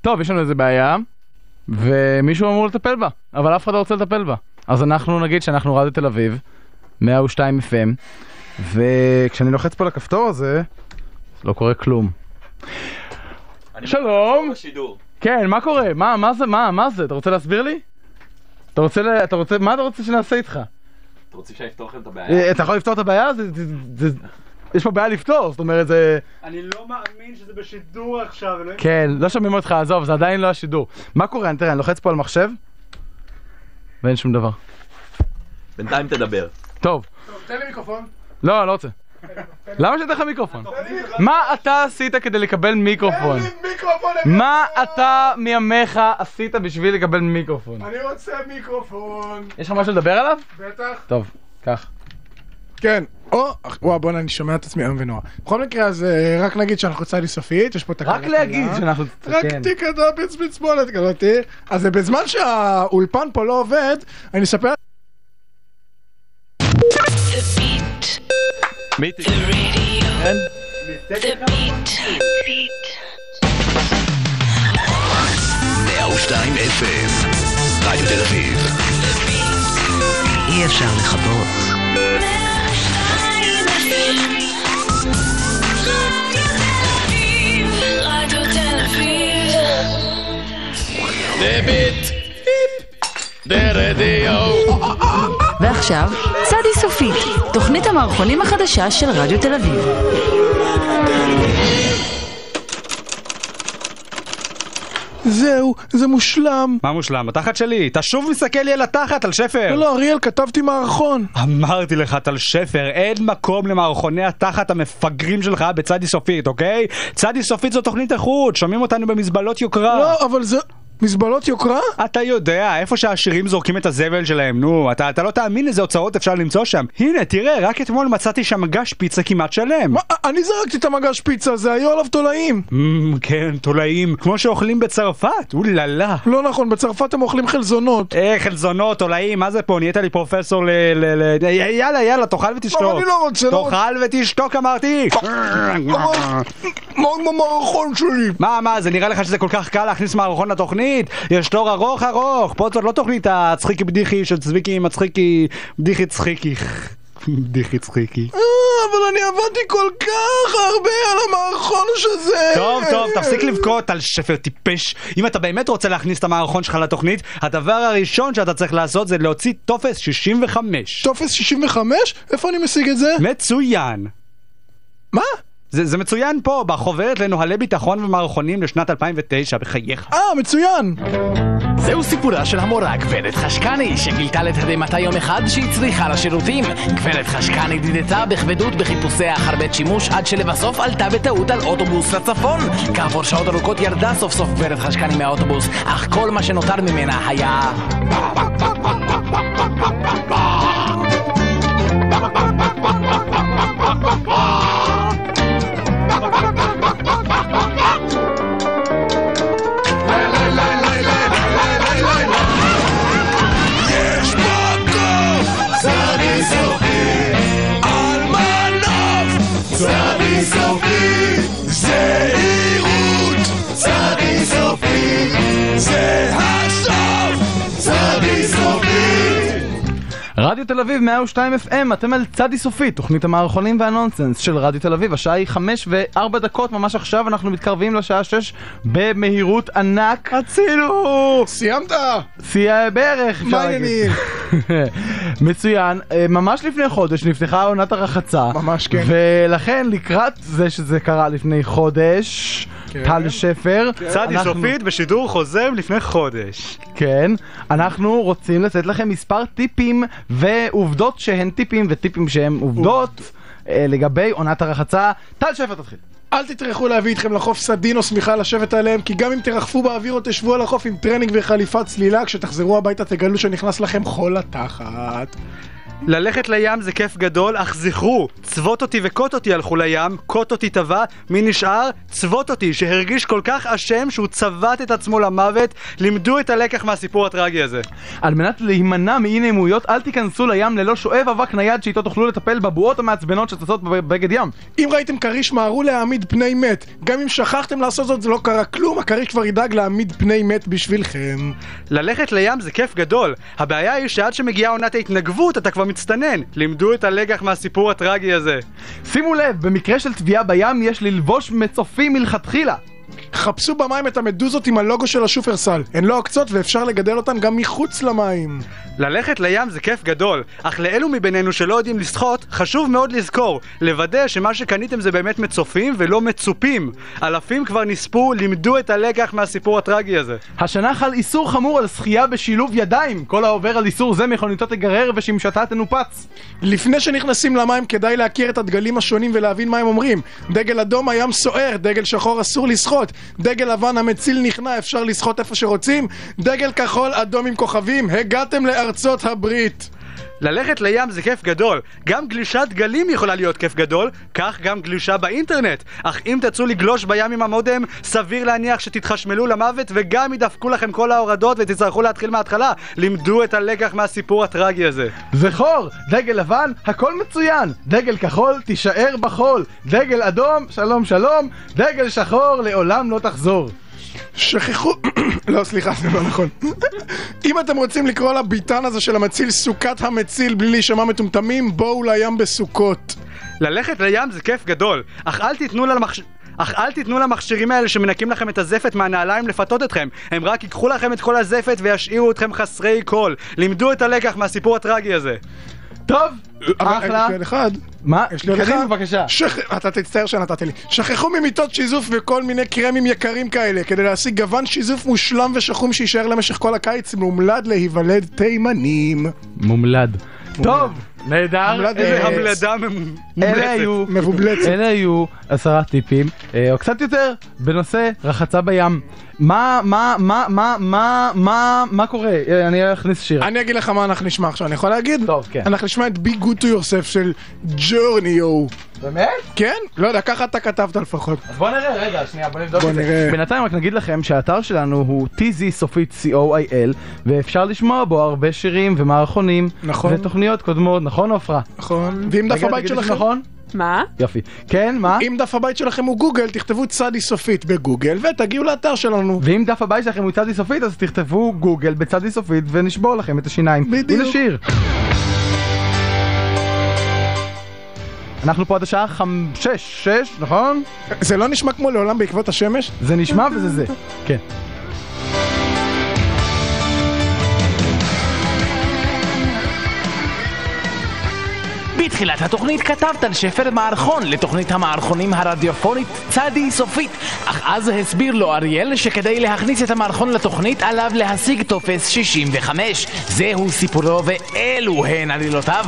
טוב, יש לנו איזה בעיה, ומישהו אמור לטפל בה, אבל אף אחד לא רוצה לטפל בה. אז אנחנו נגיד שאנחנו רדיו תל אביב, 102 FM, וכשאני לוחץ פה על הכפתור הזה, לא קורה כלום. שלום! בשידור. כן, מה קורה? מה, מה זה, מה, מה זה? אתה רוצה להסביר לי? אתה רוצה, ל- אתה רוצה, מה אתה רוצה שנעשה איתך? אתם רוצים שאני אפתור לכם את הבעיה? אה, אתה יכול לפתור את הבעיה? זה, זה, זה, יש פה בעיה לפתור, זאת אומרת, זה... אני לא מאמין שזה בשידור עכשיו, אלוהים. כן, לא שומעים אותך, עזוב, זה עדיין לא השידור. מה קורה? אני- תראה, אני לוחץ פה על מחשב, ואין שום דבר. בינתיים תדבר. טוב, טוב, תן לי מיקרופון. לא, אני לא רוצה. למה שאתן לך מיקרופון? מה אתה עשית כדי לקבל מיקרופון? מיקרופון. מה אתה מימיך עשית בשביל לקבל מיקרופון? אני רוצה מיקרופון. יש לך משהו לדבר עליו? בטח. טוב, קח. כן, או, וואו בואנה אני שומע את עצמי איום ונורא. בכל מקרה אז אה, רק נגיד שאנחנו צעדי סופית, יש פה תקלה. רק להגיד קלה. שאנחנו... רק כן. תיק הדאפיץ מצמאלת כזאתי. אז אה, בזמן שהאולפן פה לא עובד, אני אספר... The beat. מיתי. The radio. The beat. רדיו תל אביב. אי אפשר לכבות. Radio Tel Aviv. ועכשיו, צדי סופית, תוכנית המערכונים החדשה של רדיו תל אביב. זהו, זה מושלם. מה מושלם? התחת שלי. אתה שוב מסתכל לי על התחת, על שפר. לא, לא, אריאל, כתבתי מערכון. אמרתי לך, טל שפר, אין מקום למערכוני התחת המפגרים שלך בצדי סופית, אוקיי? צדי סופית זו תוכנית איכות, שומעים אותנו במזבלות יוקרה. לא, אבל זה... מזבלות יוקרה? אתה יודע, איפה שהעשירים זורקים את הזבל שלהם, נו, אתה, אתה לא תאמין איזה הוצאות אפשר למצוא שם. הנה, תראה, רק אתמול מצאתי שם מגש פיצה כמעט שלם. מה, אה, אני זרקתי את המגש פיצה הזה, היו עליו תולעים. Mm, כן, תולעים, כמו שאוכלים בצרפת, אוללה. לא נכון, בצרפת הם אוכלים חלזונות. אה, חלזונות, תולעים, מה זה פה? נהיית לי פרופסור ל... ל... ל... י- יאללה, יאללה, תאכל ותשתוק. אבל אני לא רוצה, לא רוצה. תאכל ותשתוק, אמרתי! מה עם המערכון שלי? מה, מה, זה נראה לך שזה כל כך קל להכניס מערכון לתוכנית? יש תור ארוך ארוך, פה זאת לא תוכנית הצחיקי בדיחי של צביקי מצחיקי, בדיחי צחיקי. בדיחי צחיקי. אה, אבל אני עבדתי כל כך הרבה על המערכון שזה... טוב, טוב, תפסיק לבכות על שפר טיפש. אם אתה באמת רוצה להכניס את המערכון שלך לתוכנית, הדבר הראשון שאתה צריך לעשות זה להוציא טופס 65. טופס 65? איפה אני משיג את זה? מצוין. מה? זה, זה מצוין פה, בחוברת לנוהלי ביטחון ומערכונים לשנת 2009, בחייך. אה, מצוין! זהו סיפורה של המורה גברת חשקני, שגילתה לתדהמתה יום אחד שהיא צריכה לשירותים. גברת חשקני דידתה בכבדות בחיפושיה אחר בית שימוש, עד שלבסוף עלתה בטעות על אוטובוס לצפון. כעבור שעות ארוכות ירדה סוף סוף גברת חשקני מהאוטובוס, אך כל מה שנותר ממנה היה... רדיו תל אביב 102 FM, אתם על צדי סופי, תוכנית המערכונים והנונסנס של רדיו תל אביב. השעה היא 5 ו-4 דקות, ממש עכשיו אנחנו מתקרבים לשעה 6 במהירות ענק. הצילו! סיימת? סייע בערך, אפשר מה להגיד. העניינים? מצוין. אה, ממש לפני חודש נפתחה עונת הרחצה. ממש כן. ולכן, לקראת זה שזה קרה לפני חודש, כן. טל אה, שפר. צדי אנחנו- סופית בשידור חוזר לפני חודש. כן, אנחנו רוצים לתת לכם מספר טיפים ועובדות שהן טיפים וטיפים שהן עובדות אה, לגבי עונת הרחצה. טל שפר תתחיל. אל תטרחו להביא איתכם לחוף סדין או שמיכה לשבת עליהם, כי גם אם תרחפו באוויר או תשבו על החוף עם טרנינג וחליפת צלילה, כשתחזרו הביתה תגלו שנכנס לכם חול לתחת. ללכת לים זה כיף גדול, אך זכרו, צבות אותי וקוט אותי הלכו לים, קוט אותי טבע, מי נשאר? צבות אותי, שהרגיש כל כך אשם שהוא צבט את עצמו למוות, לימדו את הלקח מהסיפור הטרגי הזה. על מנת להימנע מאי נעימויות, אל תיכנסו לים ללא שואב אבק נייד שאיתו תוכלו לטפל בבועות המעצבנות שצצות בבגד ים. אם ראיתם כריש, מהרו להעמיד פני מת. גם אם שכחתם לעשות זאת, זה לא קרה כלום, הכריש כבר ידאג להעמיד פני מת בשבילכם. ללכת לים זה כיף גדול, הבעיה היא שעד שמגיעה עונת ההתנגבות אתה כבר מצטנן, לימדו את הלקח מהסיפור הטרגי הזה. שימו לב, במקרה של טביעה בים יש ללבוש מצופים מלכתחילה. חפשו במים את המדוזות עם הלוגו של השופרסל. הן לא עוקצות ואפשר לגדל אותן גם מחוץ למים. ללכת לים זה כיף גדול, אך לאלו מבינינו שלא יודעים לשחות, חשוב מאוד לזכור, לוודא שמה שקניתם זה באמת מצופים ולא מצופים. אלפים כבר נספו, לימדו את הלקח מהסיפור הטרגי הזה. השנה חל איסור חמור על שחייה בשילוב ידיים. כל העובר על איסור זה מכוניתו תגרר ושמשתה תנופץ. לפני שנכנסים למים כדאי להכיר את הדגלים השונים ולהבין מה הם אומרים. דגל אדום הים סוער, דגל שחור אסור לשחות, דגל לבן המציל נכנע אפשר לשחות איפה שרוצים, דגל כחול אדום עם כוכבים, הגעתם לארצות הברית. ללכת לים זה כיף גדול, גם גלישת גלים יכולה להיות כיף גדול, כך גם גלישה באינטרנט. אך אם תצאו לגלוש בים עם המודם, סביר להניח שתתחשמלו למוות וגם ידפקו לכם כל ההורדות ותצטרכו להתחיל מההתחלה. לימדו את הלקח מהסיפור הטרגי הזה. זכור, דגל לבן, הכל מצוין. דגל כחול, תישאר בחול. דגל אדום, שלום שלום. דגל שחור, לעולם לא תחזור. שכחו... לא, סליחה, זה לא נכון. אם אתם רוצים לקרוא לביתן הזה של המציל סוכת המציל בלי להישמע מטומטמים, בואו לים בסוכות. ללכת לים זה כיף גדול, אך אל תיתנו למחש... אך אל תיתנו למכשירים האלה שמנקים לכם את הזפת מהנעליים לפתות אתכם. הם רק ייקחו לכם את כל הזפת וישאירו אתכם חסרי כל. לימדו את הלקח מהסיפור הטרגי הזה. טוב, אה, אבל אחלה. יש לי עוד אחד. מה? יש לי עוד אחד. קדימה, בבקשה. שכ... אתה תצטער שנתתי לי. שכחו ממיטות שיזוף וכל מיני קרמים יקרים כאלה, כדי להשיג גוון שיזוף מושלם ושחום שיישאר למשך כל הקיץ, מומלד להיוולד תימנים. מומלד. טוב, נהדר. מומלד אה, איזה אה, המלדה אלה ממומלצת. היו... מבובלצת. אלה היו עשרה טיפים, אה, או קצת יותר, בנושא רחצה בים. מה, מה, מה, מה, מה, מה, מה קורה? אה, אני אכניס שיר. אני אגיד לך מה אנחנו נשמע עכשיו, אני יכול להגיד? טוב, כן. אנחנו נשמע את בי גוד טו יוסף של ג'ורניו. באמת? כן? לא יודע, ככה אתה כתבת לפחות. אז בוא נראה, רגע, שנייה, בוא נבדוק בוא את זה. נראה. בינתיים רק נגיד לכם שהאתר שלנו הוא tz סופית co.il, ואפשר לשמוע בו הרבה שירים ומערכונים. נכון. ותוכניות קודמות, נכון עפרה? נכון. ואם דף רגע, הבית תגידי שלכם... נכון? מה? יופי. כן, מה? אם דף הבית שלכם הוא גוגל, תכתבו צדי סופית בגוגל ותגיעו לאתר שלנו. ואם דף הבית שלכם הוא צדי סופית, אז תכתבו גוגל בצדי סופית ונשבור לכם את השיניים. בדיוק. הנה שיר. אנחנו פה עד השעה חמ... שש, שש, נכון? זה לא נשמע כמו לעולם בעקבות השמש? זה נשמע וזה זה. כן. בתחילת התוכנית כתבת על שפר מערכון לתוכנית המערכונים הרדיופונית צדי סופית, אך אז הסביר לו אריאל שכדי להכניס את המערכון לתוכנית עליו להשיג טופס 65. זהו סיפורו ואלו הן עלילותיו.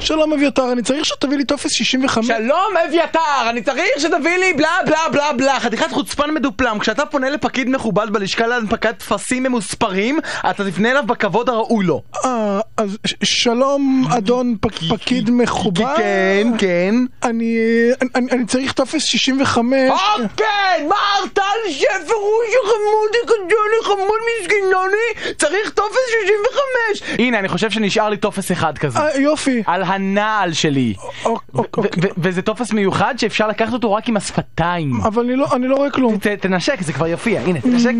שלום אביתר, אני צריך שתביא לי טופס 65. שלום אביתר, אה, אני צריך שתביא לי בלה בלה בלה בלה חתיכת חוצפן מדופלם כשאתה פונה לפקיד מכובד בלשכה להנפקת טפסים ממוספרים אתה תפנה אליו בכבוד הראוי לו אה, אז ש- שלום אדון פק- פקיד מכובד. כן, כן אני, אני, אני צריך טופס 65. אוקיי! כן, מה הרטל שפר הוא שחמודי קדוני חמוד מסגנוני צריך טופס 65 הנה אני חושב שנשאר לי טופס אחד כזה אה, יופי. אוקיי. על הנעל שלי אוק, אוק, אוק. ו- ו- וזה טופס מיוחד שאפשר לקחת אותו רק עם השפתיים. אבל אני לא, אני לא רואה כלום. ת- תנשק, זה כבר יופיע, הנה, תנשק.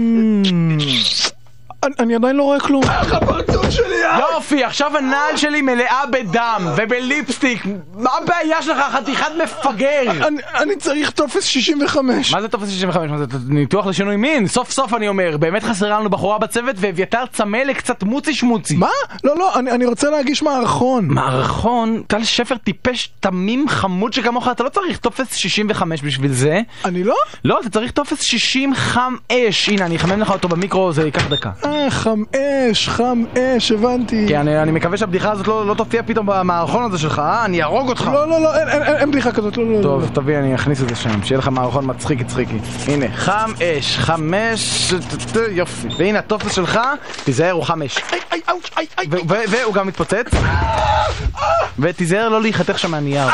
אני, אני עדיין לא רואה כלום. יופי, עכשיו הנעל שלי מלאה בדם ובליפסטיק. מה הבעיה שלך, חתיכת מפגר? אני, אני צריך טופס 65. מה זה טופס 65? מה זה ניתוח לשינוי מין? סוף סוף אני אומר, באמת חסרה לנו בחורה בצוות ואביתר צמא לקצת מוצי שמוצי. מה? לא, לא, אני, אני רוצה להגיש מערכון. מערכון, טל שפר טיפש תמים חמוד שכמוך, אתה לא צריך טופס 65 בשביל זה. אני לא? לא, אתה צריך טופס 65. הנה, אני אחמם לך אותו במיקרו, זה ייקח דקה. אה, חם אש, חם אש, הבנתי. כי אני אני מקווה שהבדיחה הזאת לא לא תופיע פתאום במערכון הזה שלך, אה? אני אהרוג אותך. לא, לא, לא, אין- אין- אין אין בדיחה כזאת, לא, לא, לא. טוב, תביא, אני אכניס את זה שם, שיהיה לך מערכון מצחיקי צחיקי. הנה, חם אש, חמש, ט- ט- יופי. והנה הטופס שלך, תיזהר, הוא חמש. ו- ו- והוא גם מתפוצץ. ותיזהר לא להיחתך שם מהנייר.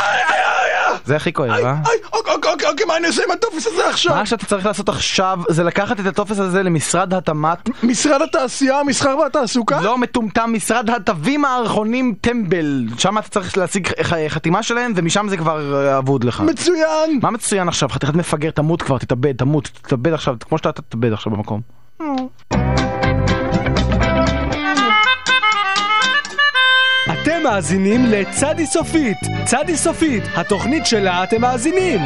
זה הכי כואב, אה? איי, אוקיי, אוקיי, אוקיי, אוקיי, מה אני עושה עם הטופס הזה עכשיו? מה שאתה צריך לעשות עכשיו זה לקחת את הטופס הזה למשרד התמ"ת, משרד התעשייה, המסחר והתעסוקה? לא מטומטם, משרד התווים מערכונים טמבל. שם אתה צריך להשיג ח- חתימה שלהם ומשם זה כבר אה, אבוד לך. מצוין! מה מצוין עכשיו? חתיכת מפגר, תמות כבר, תתאבד, תמות, תתאבד עכשיו, כמו שאתה אתה תתאבד עכשיו במקום. אתם מאזינים לצדי סופית. צדי סופית, התוכנית שלה אתם מאזינים.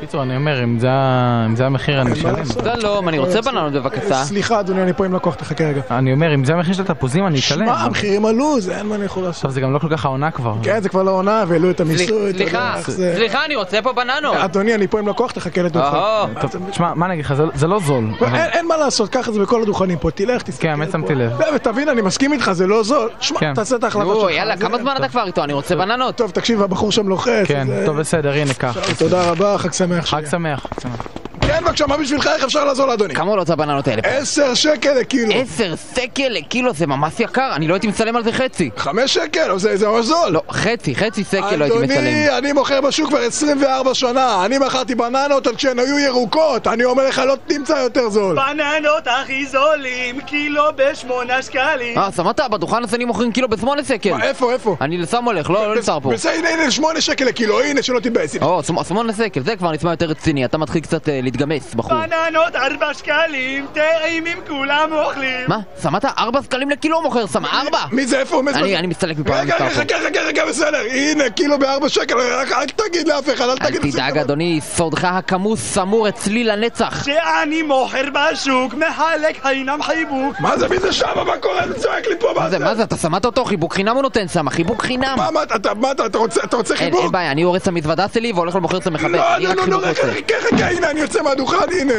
קיצור, אני אומר, אם זה ה- אם זה המחיר, אני אשלם. שלום, אני רוצה בננות בבקשה. סליחה, אדוני, אני פה עם לקוח, תחכה רגע. אני אומר, אם זה המחיר של התפוזים, אני אשלם. שמע, המחירים עלו, זה אין מה אני יכול לעשות. עכשיו, זה גם לא כל כך העונה כבר. כן, זה כבר לא עונה, והעלו את המיסוי. אתה סליחה, יודע איך זה. אה, סליחה, אני רוצה פה בננות. אדוני, אני פה עם לקוח, תחכה לדודך. אהו, טוב, תשמע, מה אני אגיד לך, זה- זה לא זול. אבל- אין אין מה לעשות, ככה זה בכל הדוכנים פה, תלך, תסתכל. כן, האמת, פה. שמתי לב. לא, ותבין, אני מסכים איתך, זה לא זול. שמע, כן. תעשה את ההחלטה נו, שלך. יאללה, זה- כמה זמן אתה כבר איתו? אני רוצה בננות. טוב, תקשיב, הבחור שם לוחץ. כן, זה- טוב, בסדר, הנה, קח. תודה רבה, חג שמח שלי. חג שמח. חג שמח. כן, בבקשה, מה בשבילך, איך אפשר לעזור לאדוני? כמה עולות הבננות האלה? עשר שקל לקילו. עשר שקל לקילו זה ממש יקר, אני לא הייתי משלם על זה חצי. חמש שקל, אבל זה זה ממש זול. לא, חצי, חצי שקל לא הייתי משלם. אדוני, אני מוכר בשוק כבר 24 שנה. אני מכרתי בננות עוד כשהן היו ירוקות. אני אומר לך, לא תמצא יותר זול. בננות הכי זולים, קילו בשמונה שקלים. אה, שמעת? בדוכן השני מוכרים קילו בשמונה שקל. איפה, איפה? אני לסם הולך, לא לא נשאר פה. בסדר, הנה, הנה, שמונה שקל לקילו, הנה, שלא תתבאס. או, שמ- שמונה שקל, זה כבר נשמע יותר רציני, אתה מתחיל קצת אה, להתגמס, בחור. בננות ארבע שקלים, טעימים כולם אוכלים. מה? שמעת? ארבע שקלים לקילו הוא מוכר, שם ארבע? מי זה, איפה? הוא מזמן? אני אני מסתלק מפה, אני רגע, רגע, נשאר פה. חכה, חכה, חכה, בסדר. הנה, קילו בארבע שקל, רק- אל תגיד לאף אחד, אל תגיד... אל תדאג, אדוני, סודך הכמוס שמור אצלי לנצח. שאני מוכר בשוק, מחלק חינם חיבוק. מה זה, מי זה שם? מה קורה? זה צועק לי פה, מה זה, מה זה, אתה שמעת אותו? חיבוק חינם הוא נותן שם, חיבוק חינם. מה, מה, אתה, מה, אתה, אתה רוצה, אתה רוצה אין, חיבוק? אין בעיה, אני הורס את המזוודה שלי והולך למוכר את המחבל. לא, אני לא, רק לא, לא, חיבוק רגע, רוצה. חכה, חכה, הנה, אני יוצא מהדוכן, הנה.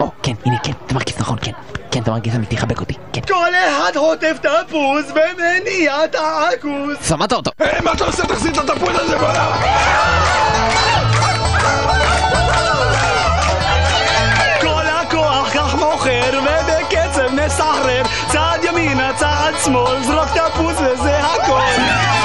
או, כן, הנה, כן, אתה מרגיש נכון, כן. כן, אתה מרגיש אמיתי, חבק אותי, כן. כל אחד חוטף תפוז ומניע את העכוז. שמעת אותו. היי, אה, מה אתה עושה? תחזיר את התפוז הזה, בוא'נה. כל הכוח כך מוכר, ובקצב נסחרר. צעד ימינה, צעד שמאל, זרוק תפוז וזה הכל.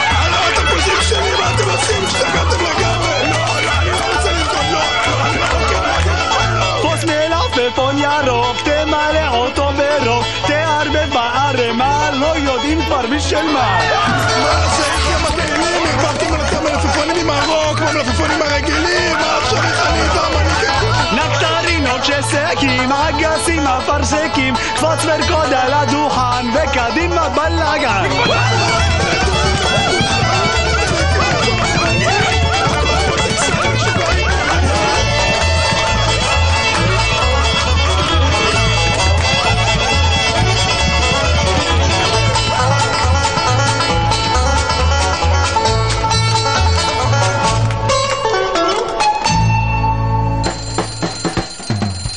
הלו, התפוזים שלי, מה אתם עושים? השתגעתם לגמרי. לא, לא, אני לא רוצה לבדוק, לא, לא, אני לא רוצה, מה קרה? לא. פוס מלפפון ירוק, תמלא אותו ברוב, תערבב בערימה, לא יודעים כבר בשל מה. מה זה, איך אתם מגעילים? ערבבתם עליכם מלפפונים עם הרוק, כמו מלפפונים הרגילים. מה עכשיו איך אני איתם? אני ככה. נקטרינות שסקים, אגסים אפרסקים, קפץ ורקוד על הדוכן, וקדימה בלאגן.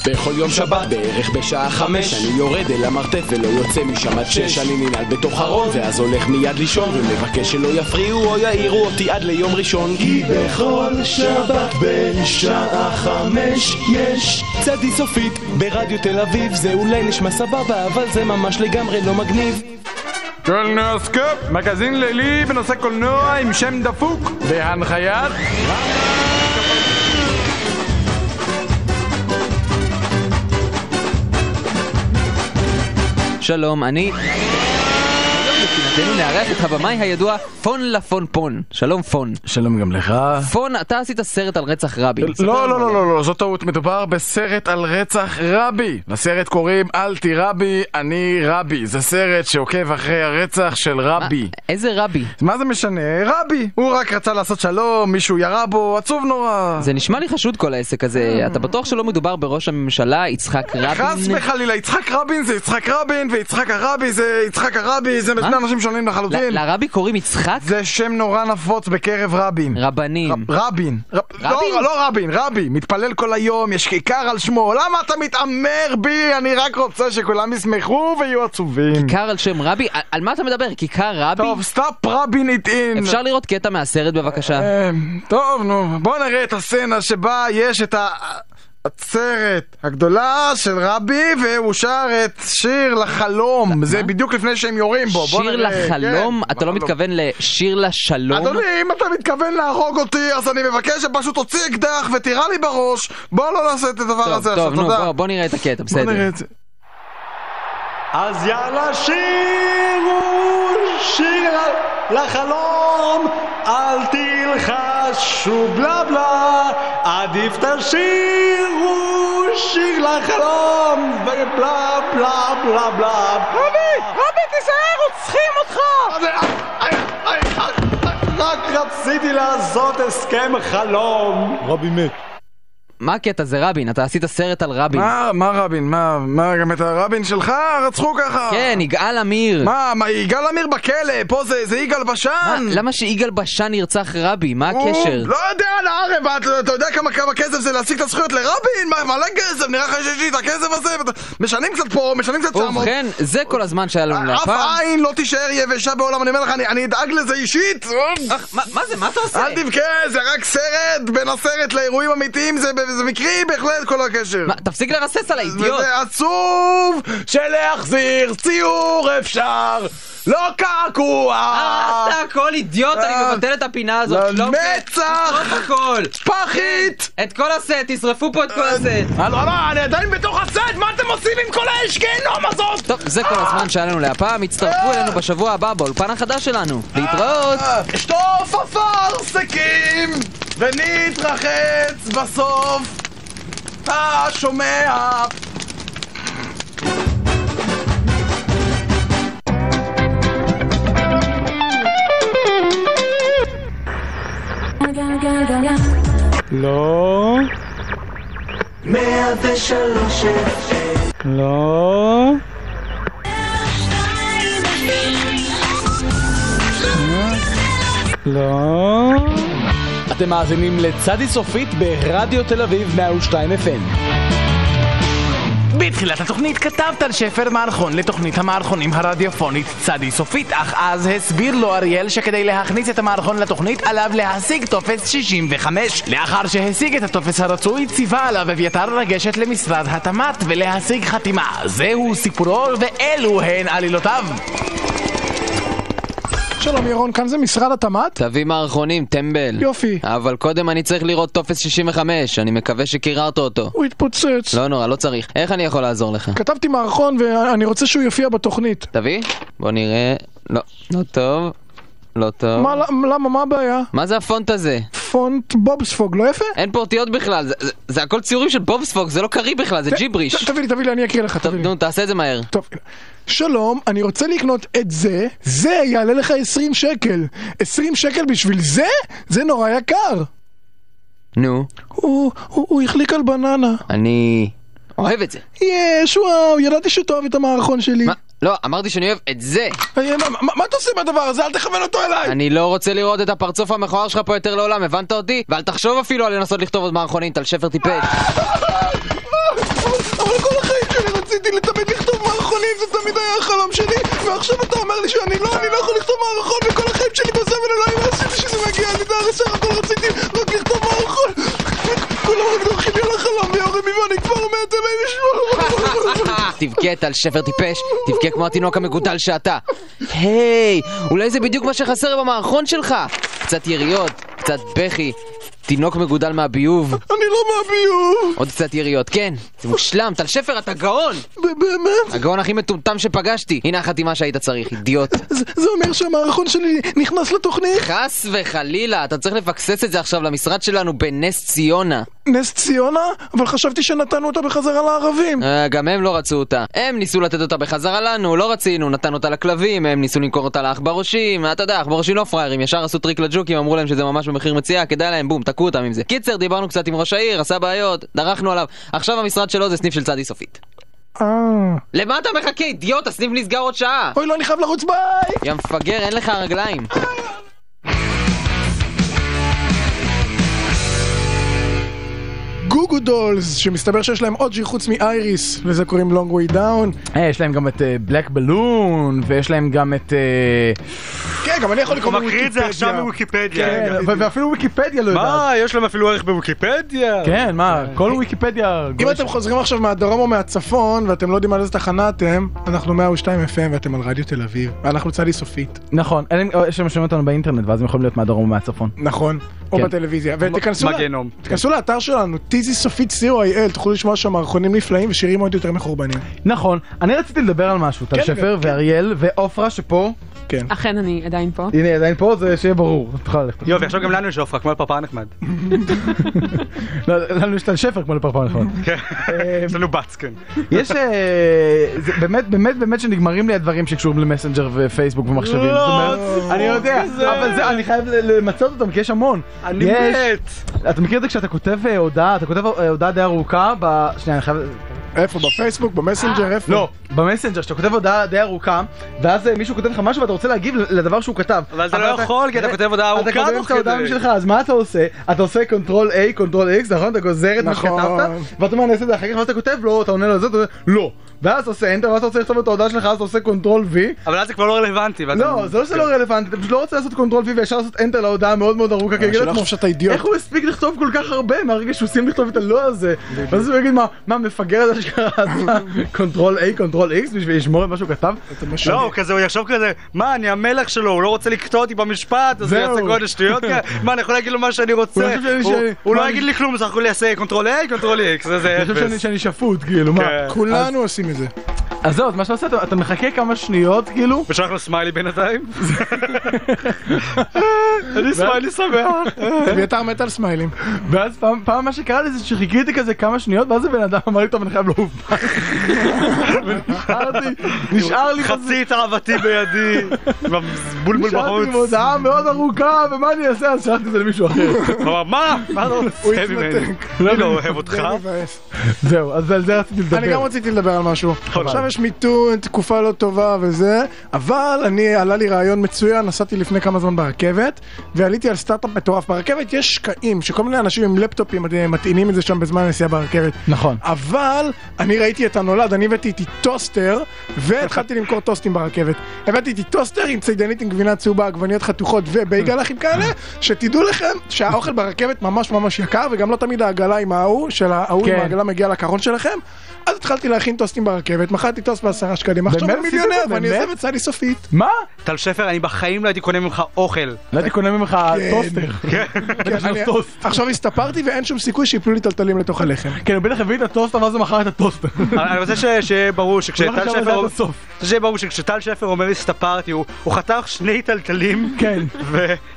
בכל יום שבת בערך בשעה חמש אני יורד אל המרתף ולא יוצא משם עד שש אני ננעל בתוך ארון ואז הולך מיד לישון ומבקש שלא יפריעו או יעירו אותי עד ליום ראשון כי בכל שבת בין שעה חמש יש צדי סופית ברדיו תל אביב זה אולי נשמע סבבה אבל זה ממש לגמרי לא מגניב קולנועסקופ, מגזין לילי בנושא קולנוע עם שם דפוק והנחיית שלום, אני... מבחינתנו נארח אותך במאי הידוע פון לפון פון. שלום פון. שלום גם לך פון, אתה עשית סרט על רצח רבין. לא, לא, לא, לא, לא, זו טעות. מדובר בסרט על רצח רבי. לסרט קוראים אל תירבי, אני רבי. זה סרט שעוקב אחרי הרצח של מה? רבי. איזה רבי? מה זה משנה? רבי. הוא רק רצה לעשות שלום, מישהו ירה בו, עצוב נורא. זה נשמע לי חשוד כל העסק הזה. אתה בטוח שלא מדובר בראש הממשלה יצחק רבין? חס וחלילה, יצחק רבין זה יצחק רבין, ויצחק הרבי זה יצחק הרבי, זה שני אנשים שונים לחלוטין. ל- לרבי קוראים יצחק? זה שם נורא נפוץ בקרב רבין. רבנים. רב- רבין. רב- רבין? לא, לא רבין, רבי. מתפלל כל היום, יש כיכר על שמו. למה אתה מתעמר בי? אני רק רוצה שכולם ישמחו ויהיו עצובים. כיכר על שם רבי? על- על מה אתה מדבר? כיכר רבי? טוב, סטאפ רבין איט אין. אפשר לראות קטע מהסרט בבקשה. אה, טוב, נו, בוא נראה את הסצנה שבה יש את ה... עצרת הגדולה של רבי והוא שר את שיר לחלום זה בדיוק לפני שהם יורים בו בוא שיר נראה, לחלום? כן, אתה לא בחלום. מתכוון לשיר לשלום? אדוני, אם אתה מתכוון להרוג אותי, אז אני מבקש שפשוט תוציא אקדח ותירה לי בראש. בוא לא נעשה את הדבר טוב, הזה עכשיו, טוב, נו, תודה. בוא- בוא נראה את הקטע, בסדר. נראה את זה. אז יאללה שירו שיר לחלום, אל תלחשו בלה בלה, עדיף תשירו שיר לחלום, ובלה בלה בלה בלה. רבי, רבי תיזהר, רוצחים אותך! רק רציתי לעשות הסכם חלום. רבי מת. מה הקטע זה רבין? אתה עשית סרט על רבין. מה, מה רבין? מה, מה, גם את הרבין שלך רצחו ככה? כן, יגאל עמיר. מה, מה, יגאל עמיר בכלא, פה זה זה יגאל מה, בשן? למה שיגאל בשן ירצח רבי? מה הקשר? הוא לא יודע על הערב, אתה, אתה יודע כמה, כמה כסף זה להשיג את הזכויות לרבין? מה, מלא כסף, נראה לך שיש לי את הכסף הזה? ואתה- משנים קצת פה, משנים קצת שם. ובכן, זה כל הזמן שהיה לנו אף להפעם. עין לא תישאר יבשה בעולם, אני אומר לך, אני- אני אדאג לזה אישית. אך, מה- מה זה? מה אתה עושה? אל תבכה, זה רק סרט, בין הסרט לאירועים אמיתיים, זה, זה מקרי בהחלט כל הקשר. מה, תפסיק לרסס על האידיוט. וזה עצוב שלהחזיר ציור אפשר, לא קעקוע, אה, אתה הכל אידיוט, אני אה, מבטל את הפינה הזאת. לא עובד. למצח. תשרוף הכל. כן, פחית! את כל הסט, תשרפו פה את כל הסט. אה, הלו, הלו, אני עדיין בתוך הסט, מה אתם עושים עם כל האש גיהנום הזאת? טוב, זה כל הזמן שהיה לנו להפעם, הצטרפו אלינו בשבוע הבא באולפן החדש שלנו. להתראות! אה, שטוף אפרסקים, ונתרחץ בסוף, אתה שומע? לא. 103 לא. לא. אתם מאזינים לצדי סופית ברדיו תל אביב 102 FM. בתחילת התוכנית כתבת על שפר מערכון לתוכנית המערכונים הרדיופונית צדי סופית, אך אז הסביר לו אריאל שכדי להכניס את המערכון לתוכנית עליו להשיג טופס 65. לאחר שהשיג את הטופס הרצוי, ציווה עליו אביתר לגשת למשרד התמ"ת ולהשיג חתימה. זהו סיפורו ואלו הן עלילותיו. שלום ירון, כאן זה משרד התמ"ת? תביא מערכונים, טמבל. יופי. אבל קודם אני צריך לראות טופס 65, אני מקווה שקיררת אותו. הוא התפוצץ. לא נורא, לא צריך. איך אני יכול לעזור לך? כתבתי מערכון ואני רוצה שהוא יופיע בתוכנית. תביא, בוא נראה. לא, לא טוב. לא טוב. מה, למה, מה הבעיה? מה זה הפונט הזה? פונט בובספוג, לא יפה? אין פה אותיות בכלל, זה, זה, זה הכל ציורים של בובספוג, זה לא קריא בכלל, זה ת- ג'יבריש. תביא לי, תביא לי, אני אקריא לך, טוב, תביא לי. נו, תעשה את זה מהר. טוב. שלום, אני רוצה לקנות את זה, זה יעלה לך 20 שקל. 20 שקל בשביל זה? זה נורא יקר. נו, הוא, הוא, הוא החליק על בננה. אני אוהב את זה. יש, וואו, ידעתי שתאהב את המערכון שלי. מה? לא, אמרתי שאני אוהב את זה. אה, מה, מה, מה אתה עושה מהדבר הזה? אל תכוון אותו אליי! אני לא רוצה לראות את הפרצוף המכוער שלך פה יותר לעולם, הבנת אותי? ואל תחשוב אפילו על לנסות לכתוב עוד מערכונים, טל שפר טיפש. אבל כל החיים שלי רציתי לתמיד לכתוב מערכונים, זה תמיד היה החלום שלי, ועכשיו אתה אומר לי שאני לא, אני לא יכול לכתוב מערכון, וכל החיים שלי בזבל אלוהים לא עשיתי שזה מגיע, אני דרך השאר הכל רציתי רק לכתוב מערכון. כולם רק דורכים לי על החלום, ויורים בי ואני כבר מת, אלוהים ישמור. תבכה, טל שפר טיפש, תבכה כמו התינוק המגודל שאתה. היי, אולי זה בדיוק מה שחסר במערכון שלך. קצת יריות, קצת בכי, תינוק מגודל מהביוב. אני לא מהביוב. עוד קצת יריות, כן, זה מושלם, טל שפר אתה גאון! ב- באמת? הגאון הכי מטומטם שפגשתי! הנה החתימה שהיית צריך, אידיוט. זה- זה אומר שהמערכון שלי נכנס לתוכנית? חס וחלילה, אתה צריך לפקסס את זה עכשיו למשרד שלנו בנס ציונה. נס ציונה? אבל חשבתי שנתנו אותה בחזרה לערבים. אה, גם הם לא רצו אותה. הם ניסו לתת אותה בחזרה לנו, לא רצינו, נתנו אותה לכלבים, הם ניסו למכור אותה לעכברושים, אתה יודע, עכברושים לא פראיירים, ישר עשו טריק לג'וקים, אמרו להם שזה ממש במחיר מציאה, כדאי להם, בום, תקעו אותם עם זה. קיצר, דיברנו קצת עם ראש העיר, עשה בעיות, דרכנו עליו. עכשיו המשרד שלו זה סניף של צדי סופית. למה אתה מחכה, אידיוט? הסניף נסגר עוד שעה! אוי, לא, אני חייב לרוץ, ביי! יא מפגר, אין לך רגליים. גוגו דולס, שמסתבר שיש להם עוד שיר חוץ מאייריס, לזה קוראים לונג ווי דאון. אה, יש להם גם את בלק בלון, ויש להם גם את... אה, כן, גם אני יכול לקרוא הוא מקריא את זה בוויקיפדיה. עכשיו מוויקיפדיה. כן, ו- ואפילו ויקיפדיה לא יודעת. מה, יש להם אפילו ערך בוויקיפדיה? כן, מה, כל ויקיפדיה... אם אתם חוזרים עכשיו מהדרום או מהצפון, ואתם לא יודעים על איזה תחנה אתם, אנחנו 102 FM ואתם על רדיו תל אביב, ואנחנו צדי סופית. נכון, אלה הם- או שהם שומעים אותנו באינטרנט, ואז הם יכולים להיות מהדרום ומהצפון. נכון. או כן. בטלוויזיה. ותיכנסו ל- בגנום. תיכנסו לאתר שלנו, tizy סופית co.il, תוכלו לשמוע שם מערכונים נפלאים ושירים עוד יותר מחורבנים. נכון, אני רציתי לדבר על משהו, טל כן, שפר ואריאל ועופרה שפה, כן. אכן, אני עדיין פה. הנה היא עדיין פה, זה שיהיה ברור, את יכולה ללכת. יופי, עכשיו גם לנו יש עופרה, כמו הפרפר נחמד. לא, לנו יש טל שפר כמו לפרפר נכון. כן, יש לנו בץ, כן. יש, אה, זה באמת, באמת, באמת שנגמרים לי הדברים שקשורים למסנג'ר ופייסבוק ומחשבים. לא, זאת אומרת, אני יודע, אבל זה, אני חייב ל- למצות אותם, כי יש המון. אני יש- מת. אתה מכיר את זה כשאתה כותב אה, הודעה, אתה כותב אה, הודעה די ארוכה, ב... שנייה, אני חייב... איפה? בפייסבוק? במסנג'ר? איפה? לא, במסנג'ר, כשאתה כותב הודעה די ארוכה, ואז אה, מישהו כותב לך משהו ואתה רוצה להגיב לדבר שהוא כתב. אבל אתה לא יכול, כי אתה כותב הודעה ארוכה אתה כותב תוך את ההודעה כדי. שלך, אז מה אתה עושה? אתה עושה קונטרול A, קונטרול X, נכון? אתה גוזר את מה נכון. שכתבת, ואתה אומר, אני אעשה את זה אחר כך, ואז אתה כותב לו, אתה עונה לו את זה, אתה אומר, לא. ואז אתה עושה enter, ואז אתה רוצה לכתוב את ההודעה שלך, אז אתה עושה קונטרול V. אבל אז זה כבר לא רלוונטי. ואתה- כן. לא, זה לא שזה לא רלוונטי, אתה פשוט לא רוצה לעשות קונטרול V וישר לעשות enter להודעה המאוד מאוד ארוכה, כי יגיד אה, שלא לעצמו, יחשוב שאתה אידיוט. איך הוא הספיק לכתוב כל כך הרבה מהרגע שהוא סיים לכתוב את הלא הזה? ואז הוא יגיד, "מה- מה, מפגר הזה שקראת? קונטרול A, קונטרול X, בשביל לשמור על מה שהוא כתב? לא, הוא כזה, הוא יחשוב כזה, מה, אני המלך שלו, הוא לא רוצה לקטוע אותי במשפט, אז הוא זהו. יעשה כל מיני שטויות כאלה, מה, אני יכול להגיד לו מה שאני הוא רוצה, יחשוב שאני- הוא- שאני- הוא מה, לא אני- יגיד לי כלום, אז אנחנו נעשה קונטרול A, קונטרול X, זה זה אני חושב שאני- אפס. שאני שפוט, כאילו, מה? כן. כולנו עושים את זה. אז זהו, אז מה שאתה עושה, אתה- אתה מחכה כמה שניות, כאילו, ושלח לו סמיילי בינתיים. אני סמיילי שמח. אביתר מת על סמיילים. ואז פעם- פעם מה שקרה לי זה שחיכיתי כזה כמה שניות, ואז הבן אדם אמר לי, טוב, אני חייב לעוף. ונשארתי, נשאר לי כזה- חצי תאוותי בידי, בולבול נשארתי עם בחוץ. הודעה מאוד ארוכה, ומה אני אעשה? אז שלחתי את זה למישהו אחר. הוא אמר, מה? מה אתה רוצה ממני? אני לא אוהב אותך. זה מבאס. זהו, אז על זה רציתי אני גם לדבר. רציתי לדבר על משהו. עכשיו יש מיתון, תקופה לא טובה וזה, אבל אני, עלה לי רעיון מצוין, נסעתי לפני כמה זמן ברכבת, ועליתי על סטארט-אפ מטורף. ברכבת יש שקעים, שכל מיני אנשים עם לפטופים אה, מטעינים את זה שם בזמן הנסיעה ברכבת. נכון. אבל אני ראיתי את הנולד, אני הבאתי איתי טוסטר, והתחלתי למכור טוסטים ברכבת. הבאתי איתי טוסטר עם צידנית עם גבינה צהובה, עגבניות חתוכות ובייגלחים כאלה, שתדעו לכם שהאוכל ברכבת ממש ממש יקר, וגם לא תמיד העגלה עם ההוא, של ההוא עם כן. העגלה מגיעה לקרון שלכם. אז התחלתי להכין טוסטים ברכבת, מכרתי טוסט בעשרה שקלים, עכשיו באמת אני עשית את מיליונר זה? ואני באמת? עוזב את סלי סופית. מה? טל שפר, אני בחיים לא הייתי קונה ממך אוכל. לא הייתי קונה ממך טוסטר. כן, אני- עכשיו הסתפרתי ואין שום סיכוי שיפלו לי טלטלים לתוך הלחם. כן, הוא בטח הביא את הטוסטר ואז הוא מכר את הטוסטר. אבל אני רוצה ש- שיהיה ברור הוא שכשטל לא חשב על שפר... זה עד הסוף. אני רוצה שיהיה ברור שכשטל שפר אומר הסתפרתי, הוא הוא חתך שני טלטלים, כן.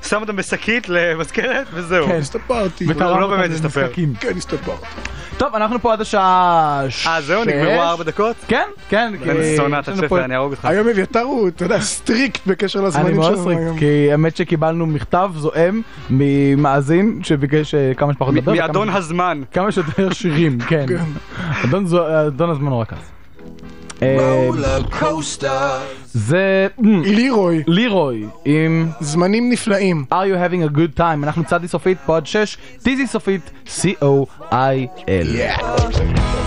ושם אותם בשקית למזכרת, וזהו. כן. הסתפרתי. הוא לא אותם באמת הסתפר. למשחקים. כן, הסתפרתי. טוב, אנחנו פה עד השעה... אה, זהו, שש. נגמרו ארבע דקות? כן, כן. כי- אני שונא טל יש לנו פה- שפר, אני אהרוג אותך. היום אביתר הוא, אתה יודע, אה, סטריקט בקשר אני לזמנים מאוד שלנו סטריקט, כן. היום. כי האמת שקיבלנו מכתב זועם ממאזין שביקש אה, כמה שפחות לדבר. מ- וכמה- מאדון הזמן. כמה שיותר שירים, כן. אדון זו- אדון הזמן נורא כעס. אה, זה אמ, לירוי, לירוי עם זמנים נפלאים. are you having a good time אנחנו צדי סופית פוד 6 טיזי סופית co.il.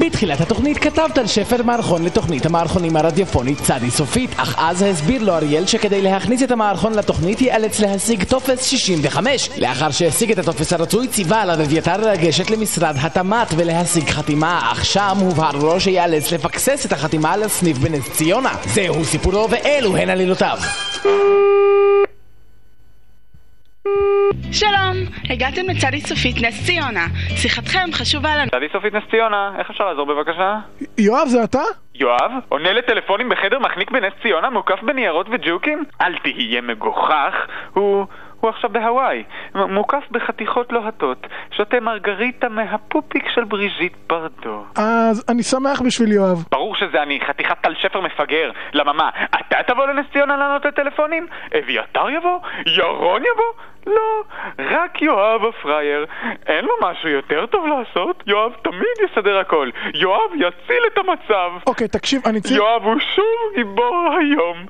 בתחילת התוכנית כתב טל שפר מערכון לתוכנית המערכונים הרדיופונית צדי סופית, אך אז הסביר לו אריאל שכדי להכניס את המערכון לתוכנית ייאלץ להשיג טופס 65. לאחר שהשיג את הטופס הרצוי ציווה עליו אביתר לגשת למשרד התמ"ת ולהשיג חתימה, אך שם הובהר לו שייאלץ לפקסס את החתימה לסניף בנס ציונה. זהו סיפורו ואלו הן עלילותיו. שלום, הגעתם לצדי סופית נס ציונה. שיחתכם חשובה לנו. צדי סופית נס ציונה, איך אפשר לעזור בבקשה? יואב, זה אתה? יואב, עונה לטלפונים בחדר מחניק בנס ציונה, מוקף בניירות וג'וקים? אל תהיה מגוחך, הוא... הוא עכשיו בהוואי, מ- מוקף בחתיכות לוהטות, שותה מרגריטה מהפופיק של בריז'יט ברדו. אז אני שמח בשביל יואב. ברור שזה אני, חתיכת טל שפר מפגר. למה מה, אתה תבוא לנס ציונה לענות לטלפונים? אביתר יבוא? ירון יבוא? לא, רק רק יואב הפראייר. אין לו משהו יותר טוב לעשות? יואב תמיד יסדר הכל. יואב יציל את המצב. אוקיי, תקשיב, אני צריך... יואב הוא שוב גיבור היום.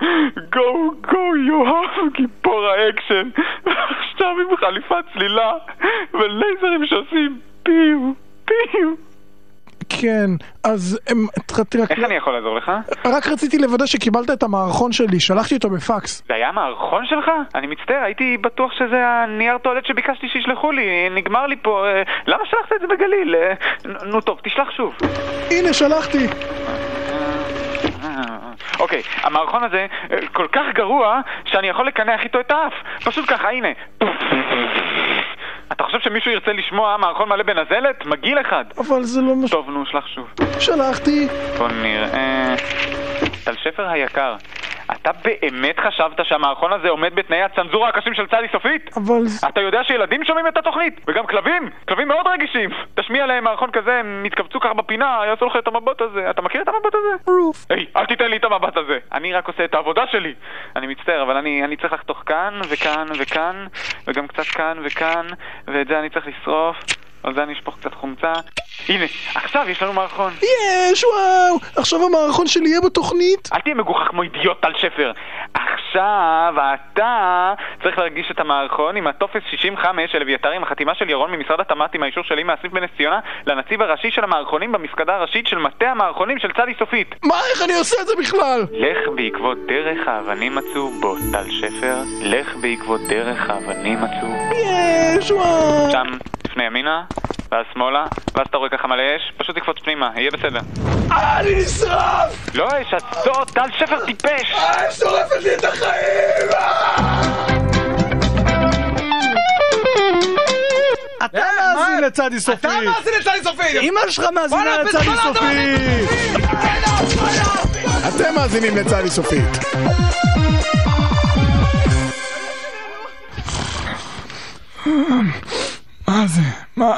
גו גו יואב גיבור האקשן. עכשיו עם חליפת צלילה ולייזרים שעושים פיו פיו. כן, אז... אמ, ת- תראה, איך אני יכול לעזור לך? רק רציתי לוודא שקיבלת את המערכון שלי, שלחתי אותו בפקס. זה היה המערכון שלך? אני מצטער, הייתי בטוח שזה הנייר טואלט שביקשתי שישלחו לי, נגמר לי פה, אה, למה שלחת את זה בגליל? אה, נ- נו טוב, תשלח שוב. הנה, שלחתי. אוקיי, המערכון הזה אה, כל כך גרוע, שאני יכול לקנח איתו את האף. פשוט ככה, הנה. אתה חושב שמישהו ירצה לשמוע מערכון מלא בנזלת? מגעיל אחד. אבל זה לא מש... טוב, נו, שלח שוב. שלחתי. בוא נראה. טל שפר היקר, אתה באמת חשבת שהמערכון הזה עומד בתנאי הצנזורה הקשים של צדי סופית? אבל... אתה יודע שילדים שומעים את התוכנית? וגם כלבים? כלבים מאוד רגישים! תשמיע להם מערכון כזה, הם יתכווצו ככה בפינה, יעשו לך את המבט הזה. אתה מכיר את המבט הזה? רוף. היי, אל תיתן לי את המבט הזה! אני רק עושה את העבודה שלי! אני מצטער, אבל אני, אני צריך לחתוך כאן, וכאן, וכאן, וגם קצת כאן, וכאן, ואת זה אני צריך לשרוף. על זה אני אשפוך קצת חומצה. הנה, עכשיו יש לנו מערכון. יש, וואו! אה, עכשיו המערכון שלי יהיה בתוכנית. אל תהיה מגוחך כמו אידיוט טל שפר. עכשיו אתה צריך להרגיש את המערכון עם הטופס 65 של אביתר עם החתימה של ירון ממשרד התמ"ת עם האישור שלי מהסניף בנס ציונה לנציב הראשי של המערכונים במפקדה הראשית של מטה המערכונים של צדי סופית. מה, איך אני עושה את זה בכלל? לך בעקבות דרך האבנים מצאו בו טל שפר, לך בעקבות דרך האבנים מצאו יש, וואו! שם לפני ימינה, ואז שמאלה, ואז אתה רואה ככה מלא אש, פשוט תקפוץ פנימה, יהיה בסדר. אני נשרף! לא אש, עצור, טל שפר טיפש! האש שורפת לי את החיים! אה! אתה מאזין לצדי סופית! אתה מאזין לצדי סופית! אמא שלך מאזינה לצדי סופית! אתם מאזינים לצעלי סופית. מה זה? מה?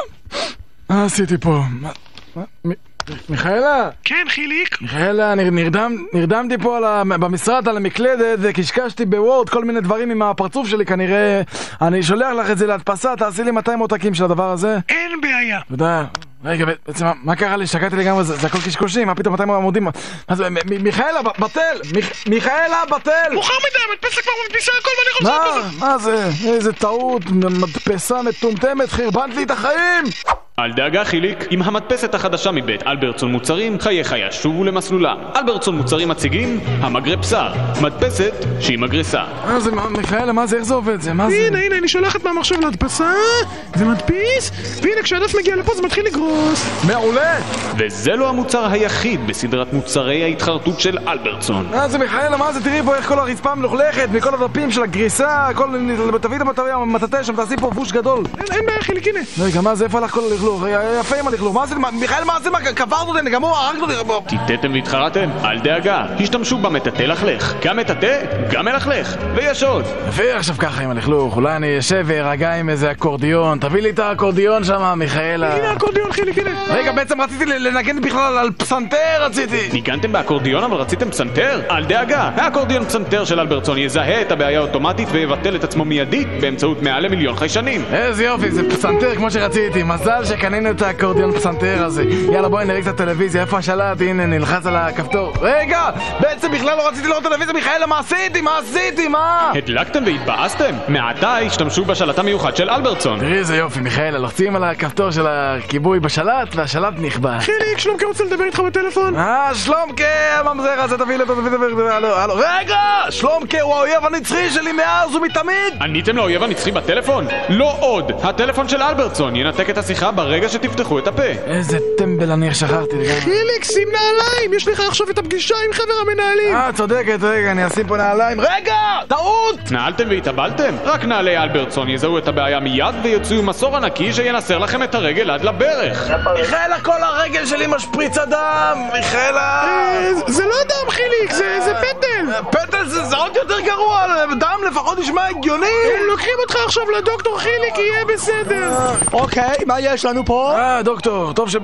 מה עשיתי פה? מה- מה- מ- מיכאלה? כן, חיליק? מיכאלה, נר- נרדם- נרדמתי פה על ה- במשרד על המקלדת וקשקשתי בוורד כל מיני דברים עם הפרצוף שלי כנראה. אני שולח לך את זה להדפסה, תעשי לי 200 עותקים של הדבר הזה. אין בעיה. תודה. רגע, בעצם מה- מה קרה לי? שקעתי לגמרי, זה זה הכל קשקושים, מה פתאום 200 עמודים? מה זה, מ- מ- מיכאלה, ב- בטל! מיכ- מיכאלה, בטל! מאוחר מדי, המדפסת כבר מדפיסה הכל ואני מה? מה זה? איזה טעות, מדפסה מטומטמת, חרבנת לי את החיים! אל דאגה חיליק, עם המדפסת החדשה מבית אלברטסון מוצרים, חייך ישובו למסלולם. אלברטסון מוצרים מציגים, המגרה בשר. מדפסת שהיא מגרסה. מה אה, זה, מה- מיכאלה, מה זה, איך זה עובד? זה, מה זה? הנה, הנה, אני שולחת מהמחשב להדפסה, זה מדפיס, והנה כשהדף מגיע לפה זה מתחיל לגרוס. מעולה! וזה לא המוצר היחיד בסדרת מוצרי ההתחרטות של אלברטסון. מה זה מיכאלה, מה זה? תראי פה איך כל הרצפה מלוכלכת מכל הדפים של הגריסה, הכל... תביאי את המטבע, המטאטא שם, תעשי פה בוש גדול. אין בעיה, חיליק, הנה. רגע, מה זה, איפה הלך כל הלכלוך? היה יפה עם הלכלוך. מה זה, מה- מיכאל, מה זה, מה, קברת אותי, אני גמור, הרגת אותי. בוא. טיטאתם והתחרתם? אל דאגה, השתמשו במטאטא לכלך. גם מטאטא, גם מלכלך. ויש עוד. יפה, עכשיו ככה עם הלכלוך, אולי אני אשב ואירגע עם איזה אקורדיון. תביא לי את האקורדיון שם, מיכאלה. הנה האקורדיון, חיליק, הנה. רגע, בעצם רציתי ל- לנגן בכלל על פסנתר, רציתי. ניגנתם באקורדיון אבל רציתם פסנתר? אל דאגה, האקורדיון פסנתר של אלברטסון יזהה את הבעיה האוטומטית ויבטל את עצמו מיידית באמצעות מעל למיליון חיישנים. איזה יופי, זה פסנתר כמו שרציתי. מזל שקנינו את האקורדיון פסנתר הזה. יאללה, בואי נראה קצת טלוויזיה, איפה השלט? הנה, נלחץ על הכפתור. רגע! בעצם בכלל לא רציתי לראות טלוויזיה, מיכאלה, מה עשיתי? מה עשיתי? מה? הדלקתם והתבאסתם? מעתה השתמשו בשלט המיוחד של אלברטסון. תראי איזה יופי, מיכאלה, לוחצים על הכפתור של הכיבוי בשלט, והשלט נכבה. חיליק, שלומקה רוצה לדבר איתך בטלפון. אה, שלומקה, הממזר הזה, תביא לי אותו, תביא לי אותו, הלו, הלו. רגע! שלומקה הוא האויב הנצחי שלי מאז ומתמיד! עניתם לאויב הנצחי בטלפון? לא עוד! הטלפון של אלברטסון ינתק את השיחה ברגע שתפתחו את הפה. איזה טמבל אני, איך שכחתי לגמרי. חיליק, שים נעליים! יש לך עכשיו את הפגישה עם חבר המנהלים! אה, צודקת, רגע, אני אשים פה נעליים. רגע! טעות! התנהלתם והתאבלתם? רק נעלי אלברטסון יזהו את הבעיה מיד ויוציאו מסור ענקי שינסר לכם את הרגל עד לברך. מיכאלה, כל הרגל שלי משפריצה דם! מיכאלה! זה לא דם, חיליק, זה זה פטל! אה, פטל זה זה עוד יותר גרוע, דם לפחות נשמע הגיוני! הם לוקחים אותך עכשיו לדוקטור חיליק, יהיה בסדר! אוקיי, מה יש לנו פה? אה, דוקטור, טוב ש...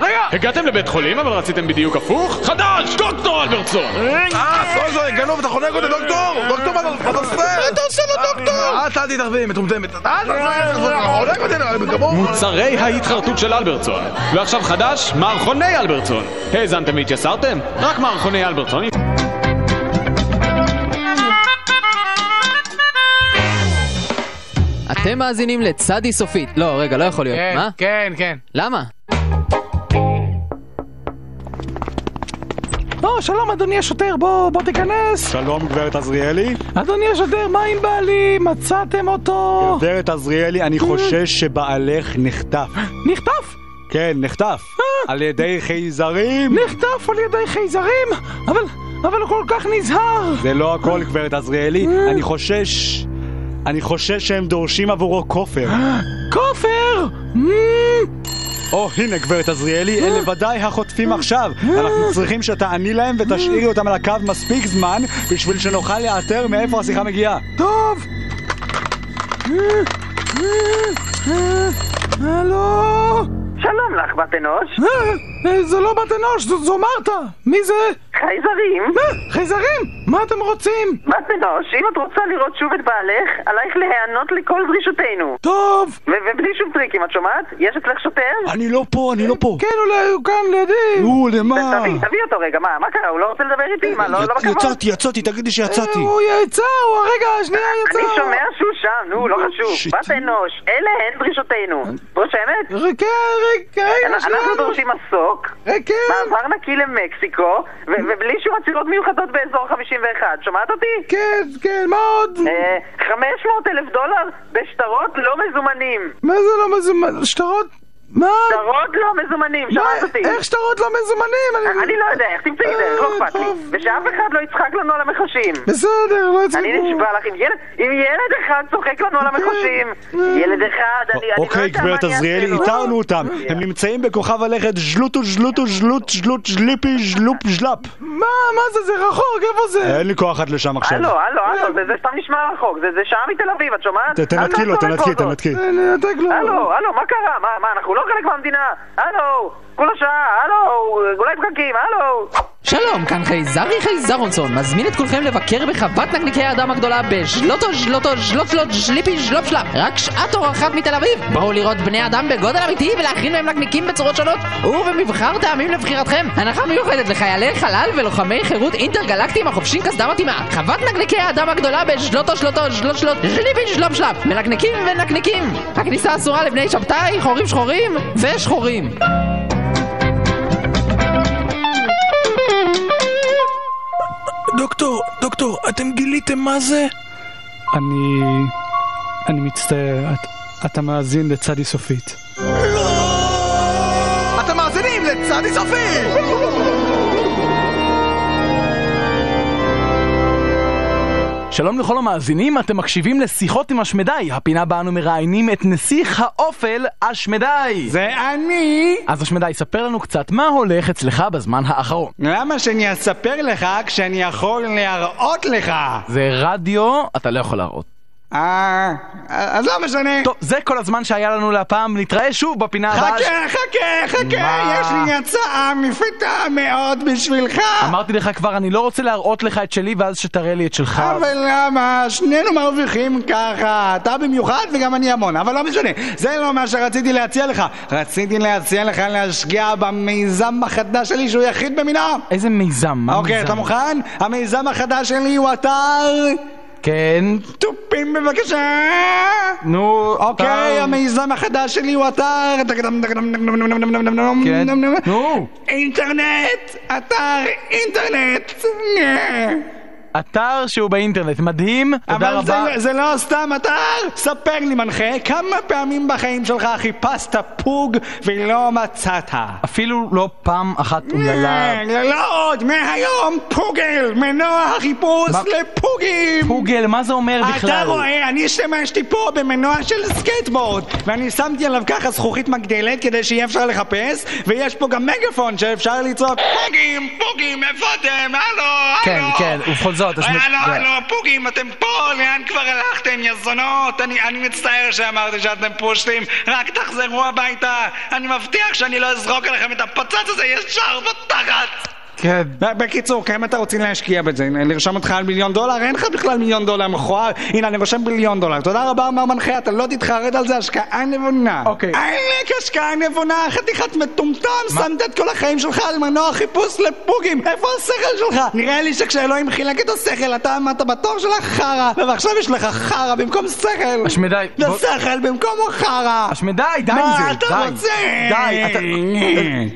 רגע! הגעתם לבית חולים אבל רציתם בדיוק הפוך? חדש! דוקטור אלברטסון! לא, אה, סוזו, גנוב, אתה חונק אותי, דוקטור! דוקטור, מה אתה עושה? מה אתה עושה לו דוקטור! את אל תתערבי, מטומטמת. את אה? אל תתערבי, מוצרי ההתחרטות של אלברטסון. ועכשיו חדש, מערכוני אלברטסון. האזנתם והתייסרתם? רק מערכוני אלברטסון. אתם מאזינים לצדי סופית. לא, רגע, לא יכול להיות. כן, מה? כן, כן. למה? או, לא, שלום אדוני השוטר, בוא, בוא תיכנס. שלום גברת עזריאלי. אדוני השוטר, מה עם בעלי? מצאתם אותו? גברת עזריאלי, אני חושש שבעלך נחטף. כן. נחטף? אה. כן, נחטף. על ידי חייזרים. נחטף על ידי חייזרים? אבל, אבל הוא כל כך נזהר. אה. זה לא הכל, גברת עזריאלי. אני חושש... אני חושש שהם דורשים עבורו כופר. אה. כופר! אה. או, הנה גברת עזריאלי, אלה ודאי החוטפים עכשיו. אנחנו צריכים שתעני להם אה. ותשאירי אותם על הקו מספיק זמן בשביל שנוכל לאתר מאיפה השיחה מגיעה. טוב! הלו? שלום לך, בת אנוש. זה לא בת אנוש, זו- זו מרתה. מי זה? חייזרים. מה? חייזרים? מה אתם רוצים? בת אנוש, אם את רוצה לראות שוב את בעלך, עלייך להיענות לכל דרישותינו. טוב. ו- ובלי שום טריקים, את שומעת? יש אצלך שוטר? אני לא פה, אני לא פה. כן, אולי הוא כאן לידי. הוא, למה? תביא, תביא אותו רגע, מה, מה קרה? הוא לא רוצה לדבר איתי? מה, לא, לא בכבוד? יצאתי, יצאתי, תגידי שיצאתי. הוא יצא, הוא הרגע, שנייה יצא. אני שומע שהוא שם, נו, לא חשוב. בת אנוש, אלה הן דרישותינו. רושמת? רגע, רגע, רגע, שנייה. אנחנו דורשים מסוק, כן. מעבר נקי למקסיקו, ו- ובלי שום עצירות מיוחדות באזור 51. שומעת אותי? כן, כן, מה עוד? 500 אלף דולר בשטרות לא מזומנים. מה זה לא מזומן? שטרות? מה? שטרות לא מזומנים, שמעת אותי? איך שטרות לא מזומנים? אני לא יודע, איך תמצאי דרך, לא אכפת לי. ושאף אחד לא יצחק לנו על המחשים. בסדר, לא יצחקו. כן, אני נשבע לך, אם ילד- אם ילד אחד צוחק לנו על המחשים, ילד אחד, אני- אני לא אוקיי, יודע מה גברת אני אעשה עזריאלי, לו. איתרנו אותם. הם נמצאים בכוכב הלכת ז'לוטו ז'לוטו ז'לוט ז'לוט ז'ליפי ז'לופ ז'לאפ. מה, מה זה, זה רחוק, איפה זה? כן. אין לי כוח עד לשם עכשיו. הלו, הלו, הלו, זה- זה סתם נשמע רחוק, זה זה שעה מתל אביב, את ת- שומעת? תנתקי לו, תנתקי, תנתקי. אה, הלו, הלו, מה קרה? מה, מה, אנחנו לא חלק מהמדינה? הלו, כולה שעה, הלו, אולי פקקים, הלו. שלום, כאן חייזרי חייזרונסון, מזמין את כולכם לבקר בחוות נקניקי האדם הגדולה בז'לוטו ז'לוטו ז'לוט ז'לוט ז'ליפי ז'לופ שלאפ רק שעת אור אחת מתל אביב בואו לראות בני אדם בגודל אמיתי ולהכין מהם נקניקים בצורות שונות ובמבחר טעמים לבחירתכם הנחה מיוחדת לחיילי חלל ולוחמי חירות אינטרגלקטיים החובשים קסדה מתאימה חוות נקניקי האדם הגדולה בז'לוטו ז'לוטו ז'לוט ז'לוט ז'ליפי ז'לופ שלאפ מנקניקים ונקניקים הכניסה אסורה לבני שבתאי, חורים שחורים ושחורים דוקטור, דוקטור, אתם גיליתם מה זה? אני... אני מצטער, את, אתה מאזין לצדי סופית. אתם מאזינים לצדי סופי! שלום לכל המאזינים, אתם מקשיבים לשיחות עם השמדי, הפינה בה אנו מראיינים את נסיך האופל, השמדי. זה אני! אז השמדי, ספר לנו קצת מה הולך אצלך בזמן האחרון. למה שאני אספר לך כשאני יכול להראות לך? זה רדיו, אתה לא יכול להראות. אה... אז לא משנה. טוב, זה כל הזמן שהיה לנו להפעם, נתראה שוב בפינה הבאה. חכה, חכה, מה? חכה, יש לי הצעה מפתה מאוד בשבילך! אמרתי לך כבר, אני לא רוצה להראות לך את שלי ואז שתראה לי את שלך. אבל למה? שנינו מרוויחים ככה. אתה במיוחד וגם אני המון, אבל לא משנה. זה לא מה שרציתי להציע לך. רציתי להציע לך להשקיע במיזם החדש שלי שהוא יחיד במינו. איזה מיזם? מה אוקיי, מיזם? אתה מוכן? המיזם החדש שלי הוא אתר... כן. תופים בבקשה! נו, אוקיי, אתר. המיזם החדש שלי הוא אתר... כן. נו. אינטרנט! אתר אינטרנט! אתר שהוא באינטרנט, מדהים, תודה אבל זה, רבה. זה לא סתם אתר! ספר לי מנחה, כמה פעמים בחיים שלך חיפשת פוג ולא מצאת? אפילו לא פעם אחת אומללה. לא, לא עוד, מהיום פוגל, מנוע החיפוש מה- לפוגים! פוגל, מה זה אומר בכלל? אתה רואה, אני השתמשתי פה במנוע של סקייטבורד ואני שמתי עליו ככה זכוכית מגדלת כדי שיהיה אפשר לחפש ויש פה גם מגפון שאפשר לצעוק פוגים, פוגים, איפה אתם? הלו, הלו! כן, כן, ובכל זאת, אז... הלו, נ- הלו, פוגים, אתם פה, לאן כבר הלכתם, יא זונות? אני, אני מצטער שאמרתי שאתם פושטים, רק תחזרו הביתה. אני מבטיח שאני לא אזרוק עליכם את הפצץ הזה ישר בתחת. כן. בקיצור, כמה אתה רוצים להשקיע בזה? לרשום אותך על מיליון דולר? אין לך בכלל מיליון דולר מכוער. הנה, אני רושם ביליון דולר. תודה רבה, מר מנחה, אתה לא תתחרד על זה, השקעה נבונה. אוקיי. עלק השקעה נבונה, חתיכת מטומטם, שמת את כל החיים שלך על מנוע חיפוש לפוגים. איפה השכל שלך? נראה לי שכשאלוהים חילק את השכל, אתה עמדת בתור של החרא, ועכשיו יש לך חרא במקום שכל. השמדי. ושכל במקום החרא. השמדי, די עם זה, מה אתה די. רוצה? די,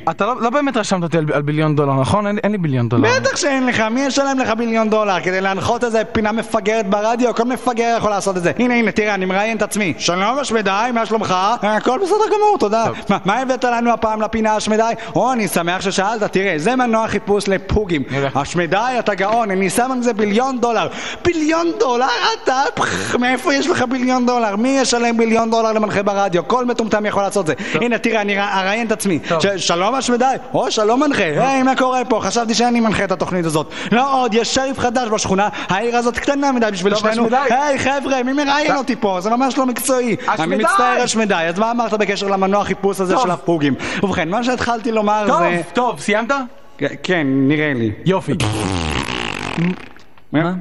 אתה- אתה לא- לא באמת רשמת אותי על- על ביליון דולר, נכון? אין אין לי ביליון דולר. בטח שאין לך, מי ישלם לך ביליון דולר כדי להנחות איזה פינה מפגרת ברדיו? כל מפגר יכול לעשות את זה. הנה, הנה, תראה, אני מראיין את עצמי. שלום השמדי, מה שלומך? אה, הכל בסדר גמור, תודה. מה- מה הבאת לנו הפעם לפינה השמדי? או, אני שמח ששאלת, תראה, זה מנוע חיפוש לפוגים. השמדי, אתה גאון, אני שם על זה ביליון דולר. ביליון דולר? אתה... פח, מאיפה יש לך ביליון דולר? מי ישלם ביליון דולר למנחה ברדיו? כל מטומטם יכול לעשות את זה. הנה, תראה, אני ר- אראיין את עצמי. ש- שלום השמדי, או, שלום מנחה. אה. היי, מה קורה פה? חשבתי שאני מנחה את התוכנית הזאת. לא עוד, יש שריף חדש בשכונה, העיר הזאת קטנה מדי בשביל טוב, שנינו. השמדי. היי, חבר'ה, מי מראיין אתה- אותי פה? זה ממש לא מקצועי. אני השמדי. מצטער, השמדי. אז מה אמרת בקשר למנוע חיפוש הזה טוב. של הפוגים? ובכן, מה שהתחלתי לומר טוב, זה... טוב, סיימת? כן, נראה לי. יופי.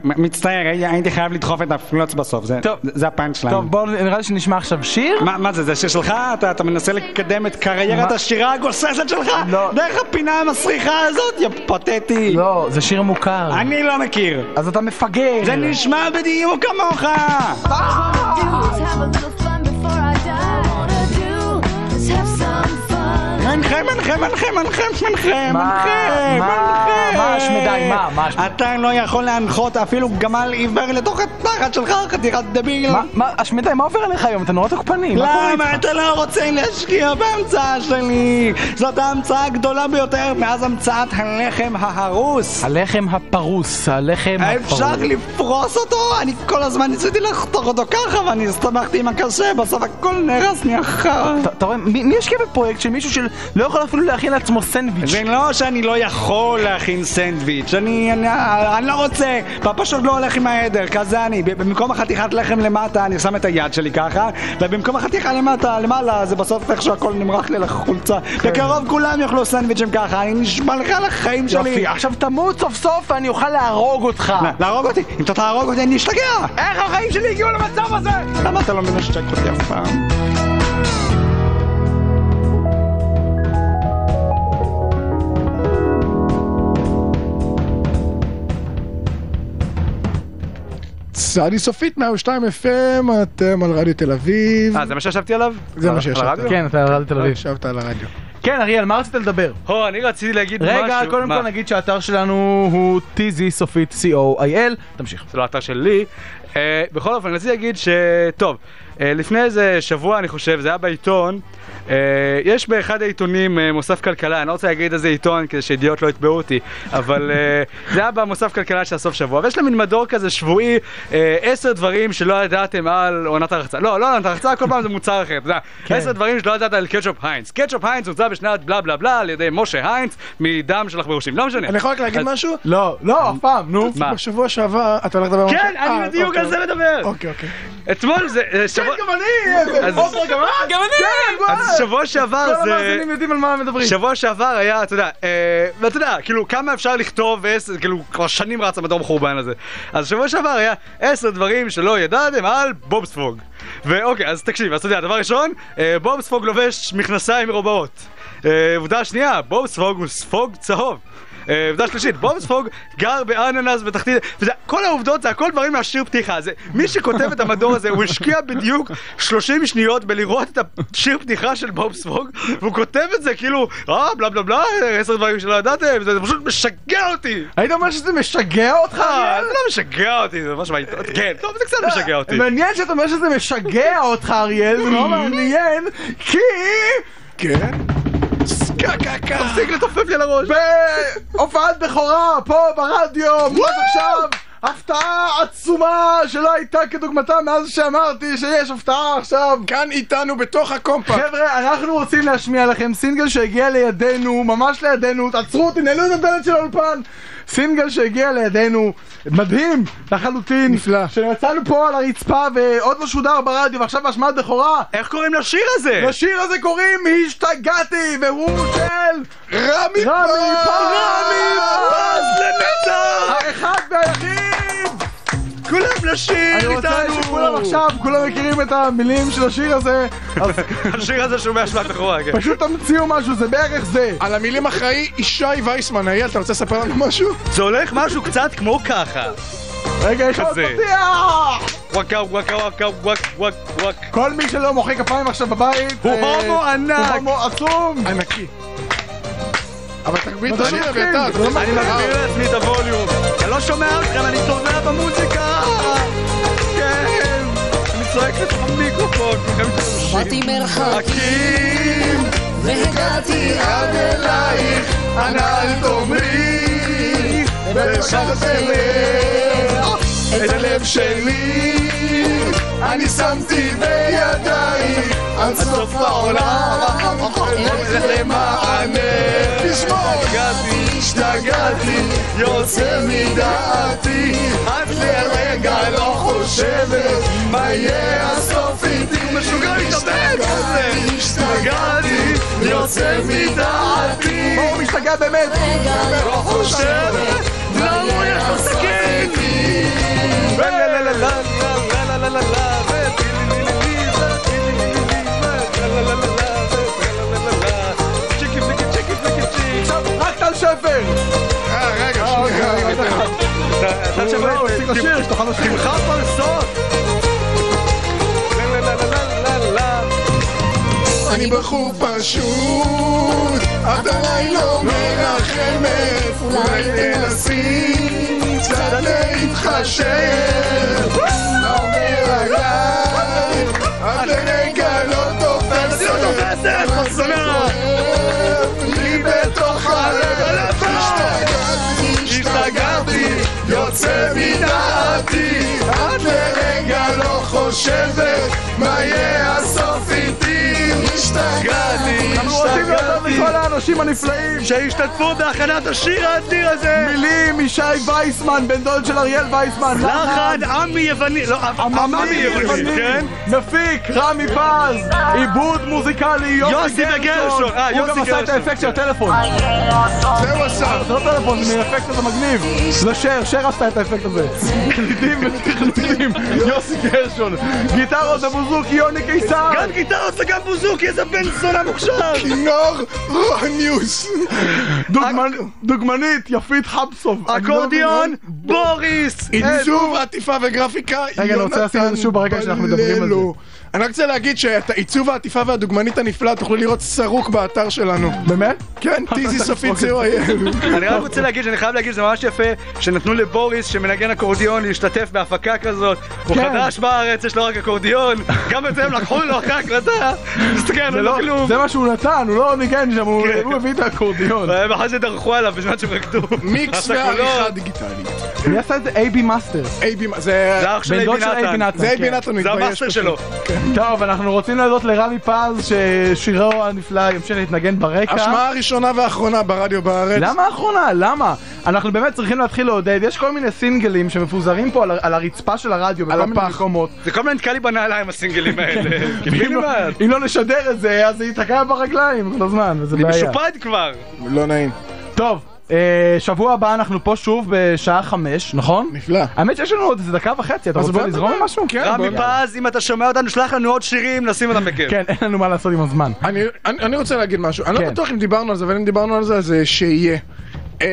מצטער, הי- הייתי חייב לדחוף את הפלוץ בסוף, זה- זה- זה הפאנץ' שלנו. טוב, בואו, נראה לי שנשמע עכשיו שיר. מה מה זה, זה שיר שלך? אה, אתה אתה מנסה לקדם את קריירת מה? השירה הגוססת שלך? דרך הפינה המסריחה הזאת, יא פתטי. לא, זה שיר מוכר. אני לא מכיר. אז אתה מפגר. זה נשמע בדיוק כמוך. מנחם, מנחם, מנחם, מנחם, מנחם, מנחם, מנחם. מה השמדי, מה, מה השמדי? אתה לא יכול להנחות אפילו גמל עיוור לתוך התחת שלך, חתיכת דביל. מה- מה, השמדי, מה עובר עליך היום? אתה נורא תוקפני. מה קורה למה אתה לא רוצה להשקיע בהמצאה שלי? זאת ההמצאה הגדולה ביותר מאז המצאת הלחם ההרוס. הלחם הפרוס, הלחם הפרוס. אפשר לפרוס אותו? אני כל הזמן ניסיתי לחתוך אותו ככה ואני הסתבכתי עם הקשה, בסוף הכל נהרס נהיה חרא. אתה- אתה רואה, מי מי ישקיע בפרויקט של מישהו שלא יכול אפילו להכין לעצמו סנדוויץ'? זה לא שאני לא יכול להכין סנדוויץ', אני, אני, אני לא רוצה, פ- פשוט לא הולך עם העדר, כזה אני, ב- במקום החתיכת לחם למטה אני שם את היד שלי ככה, ובמקום החתיכה למטה, למעלה, זה בסוף איכשהו הכל נמרח לי לחולצה. כן. בקרוב כולם יאכלו סנדוויצ'ים ככה, אני נשבע לך על החיים שלי. יופי, עכשיו תמות סוף סוף ואני אוכל להרוג אותך. להרוג אותי? אם אתה תהרוג אותי אני אשתגע! איך החיים שלי הגיעו למצב הזה? למה אתה לא מנשק אותי אף פעם? צעדי סופית 102 FM, אתם על רדיו תל אביב. אה, זה מה שישבתי עליו? זה על- מה על שישבת. הרדיו? כן, אתה על רדיו תל אביב. ישבת על הרדיו. כן, אריאל, מה רצית לדבר? הו, אני רציתי להגיד משהו. רגע, קודם מה? כל נגיד שהאתר שלנו הוא tz סופית co.il, תמשיך. זה לא האתר שלי. אה, בכל אופן, רציתי להגיד ש... טוב, אה, לפני איזה שבוע, אני חושב, זה היה בעיתון, אה, יש באחד העיתונים אה, מוסף כלכלה, אני לא רוצה להגיד איזה עיתון כדי שאידיוט לא יתבעו אותי, אבל אה, זה היה במוסף כלכלה של הסוף שבוע, ויש להם מין מדור כזה שבועי, אה, עשר דברים שלא ידעתם על עונת הרחצה. לא, לא עונת הרחצה, כל פעם זה מוצר אחר, אתה יודע. כן. עשר דברים שלא ידעת על קטשופ היינץ. קטשופ היינץ הוצא בשנת בלה בלה בלה על ידי משה היינץ מדם של עכברושים, לא משנה. אני יכול רק להגיד אז- משהו? לא, לא, אף פעם, נו. מה? בשבוע שעבר, אתה הולך לדבר... כן, אה, אני בדיוק אוקיי. על זה מדבר. אוקיי, אוקיי. כן, אתמול זה... אה, שבוע- אז- אז שבוע שעבר זה... כל המאזינים יודעים על מה מדברים. שבוע שעבר היה, אתה יודע, אה, ואתה יודע, כאילו, כמה אפשר לכתוב, ועשר- כאילו, כבר שנים רץ המדור מחורבן הזה. אז שבוע שעבר היה עשר דברים שלא ידעתם על בובספוג. ואוקיי, אז תקשיב, אז אתה יודע, דבר ראשון, אה, בובספוג לובש מכנסיים מרובעות. אה, עובדה שנייה, בובספוג הוא ספוג צהוב. אה, עובדה שלישית, בוב ספוג גר באננס בתחתית, וזה, כל העובדות זה הכל דברים מהשיר פתיחה, זה, מי שכותב את המדור הזה, הוא השקיע בדיוק 30 שניות בלראות את השיר פתיחה של בוב ספוג, והוא כותב את זה כאילו, אה, בלה בלה בלה, עשר דברים שלא ידעתם, זה זה פשוט משגע אותי. היית אומר שזה משגע אותך? אה, זה לא משגע אותי, זה ממש מעיטות, כן, טוב, זה קצת משגע אותי. Mm-hmm. מעניין שאתה אומר שזה משגע אותך, אריאל, זה לא מעניין, כי... כן? תפסיק לתופף לי על הראש. בהופעת בכורה, פה ברדיו, ממש עכשיו, הפתעה עצומה שלא הייתה כדוגמתה מאז שאמרתי שיש הפתעה עכשיו. כאן איתנו בתוך הקומפקט. חבר'ה, אנחנו רוצים להשמיע לכם סינגל שהגיע לידינו, ממש לידינו, תעצרו אותי, נעלו את הדלת של האולפן. סינגל שהגיע לידינו, מדהים לחלוטין. נפלא. שמצאנו פה על הרצפה ועוד לא שודר ברדיו ועכשיו בהשמעת בכורה. איך קוראים לשיר הזה? לשיר הזה קוראים השתגעתי, והוא של... רמי פז! רמי פז! לנצח! האחד והיחיד! כולם לשיר אני רוצה איתנו! שכולם עכשיו, כולם מכירים את המילים של השיר הזה, אז השיר הזה שהוא מהשלט אחורה, כן. פשוט תמציאו משהו, זה בערך זה. על המילים אחראי ישי וייסמן, אייל, אתה רוצה לספר לנו משהו? זה הולך משהו קצת כמו ככה. רגע, יש עוד כזה. פתיח! וואקה וואקה וואקה וואק וואק וואק. כל מי שלא מוחא כפיים עכשיו בבית... הוא אה, הומו ענק. הוא הומו עצום! ענקי. אבל תגביל את אבל השיר, אני אתחיל. אביתר, זה לא אני מתאים. מגביר לעצמי את הווליום. אני לא שומע אתכם, אני טובע במוזיקה! כן! אני צועק לתוך המיקרופון, כולכם באתי מרחקים, והגעתי עד אלייך, הנעל תאמרי, ולשחרר את הלב שלי, אני שמתי בידייך עד סוף העולם, הולך למענך. תשמור, השתגעתי, יוצא מדעתי, את לרגע לא חושבת מה יהיה הסוף איתי. משוגע מתאבד כזה. השתגעתי, יוצא מדעתי. הוא משתגע באמת! לא חושבת, למה יש לו סכין? רק טל שפר! אוקיי, אה, רגע, שנייה. אתה שווה לא, הוא הפסיק לשיר, שתוכל לשיר. תמחה פרסות! אני בחור פשוט, את עליי לא מרחמת, אולי תנסי קצת להתחשב. מה אומר עליי? את לרגע לא תופסת, אבל זה כואב לי בתוך הלב. השתגעתי, השתגעתי, יוצא מדעתי, את לרגע לא חושבת מה יהיה הסוף איתי. השתגעתי, אנחנו רוצים להודות לכל האנשים הנפלאים! שהשתתפו בהכנת השיר האדיר הזה! מילים ישי וייסמן, בן דוד של אריאל וייסמן! לחן עמי יווני, לא, עממי יווני, כן? מפיק, רמי פז, עיבוד מוזיקלי, יוסי יוסי וגרשון, אה, הוא גם יוסי עשה את גרשון. האפקט של הטלפון. זה הוא עשה. זה לא טלפון, זה אפקט הזה מגניב. זה שר, שר עשתה את האפקט הזה. קלידים ותכנתים, יוסי גרשון. גיטרות ובוזוק, יוני קיסר. גם גיטרות וגם בוזוקי, איזה בן זונה מוכשר! כינור רוניוס. דוגמנ- דוגמנית, יפית לא חבסוב. אקורדיון, בוריס! עיצוב, עטיפה וגרפיקה, רגע, אני רוצה לעשות את זה שוב ברגע שאנחנו מדברים על זה. בללו. אני רק רוצה להגיד שאת העיצוב, העטיפה והדוגמנית הנפלאה תוכלו לראות סרוק באתר שלנו. באמת? אוקיי. כן, טיזי סופית זהו אייל. אני רק רוצה להגיד, שאני חייב להגיד, זה ממש יפה שנתנו לבוריס שמנגן אקורדיון להשתתף בהפקה כזאת. הוא כן. חדש בארץ, יש לו רק אקורדיון, גם את זה הם לקחו לו אחרי ההקלטה, מסתכל, זה אין לו לא- כלום. זה מה שהוא נתן, הוא לא ניגן שם, הוא כאילו- כן. הוא הביא את האקורדיון. ואחרי זה דרכו עליו בזמן שהם רקדו. מיקס עשה קולות. ועריכה דיגיטלית. מי עשה את זה? איי בי מאסטר. אייבי, אה, זה... זה אח של בן אייבי דוד של אייבי נתן. נתן. זה אייבי כן. נתן, הוא זה התבייש. המאסטר פשוט. שלו. טוב, אנחנו רוצים להודות לרמי פז, ששירו הנפלא ימשיך להתנגן ברקע. השמעה הראשונה והאחרונה ברדיו בארץ. למה האחרונה? למה? אנחנו באמת צריכים להתחיל לעודד, יש כל מיני סינגלים שמפוזרים פה על ה- על הרצפה של הרדיו, בכל מיני הפח. מקומות. זה כל הזמן נתקע לי בנעליים הסינגלים האלה. ואם לא- קיבינימט. אם לא נשדר את זה, אז זה ייתקע ברגליים כל הזמן, וזה אני בעיה. משופד כבר. לא נעים. טוב, אה, שבוע הבא אנחנו פה שוב בשעה חמש, נכון? נפלא. האמת שיש לנו עוד איזה דקה וחצי, אתה אז רוצה בוא לזרום נדבר. עם משהו? כן, רמי בוא. פז, אם אתה שומע אותנו, שלח לנו עוד שירים, נשים אותם בכיף. כן, אין לנו מה לעשות עם הזמן. אני, אני, אני רוצה להגיד משהו, אני כן. לא בטוח אם דיברנו על זה, אבל אם דיברנו על זה, אז אה, שיהיה. אמ,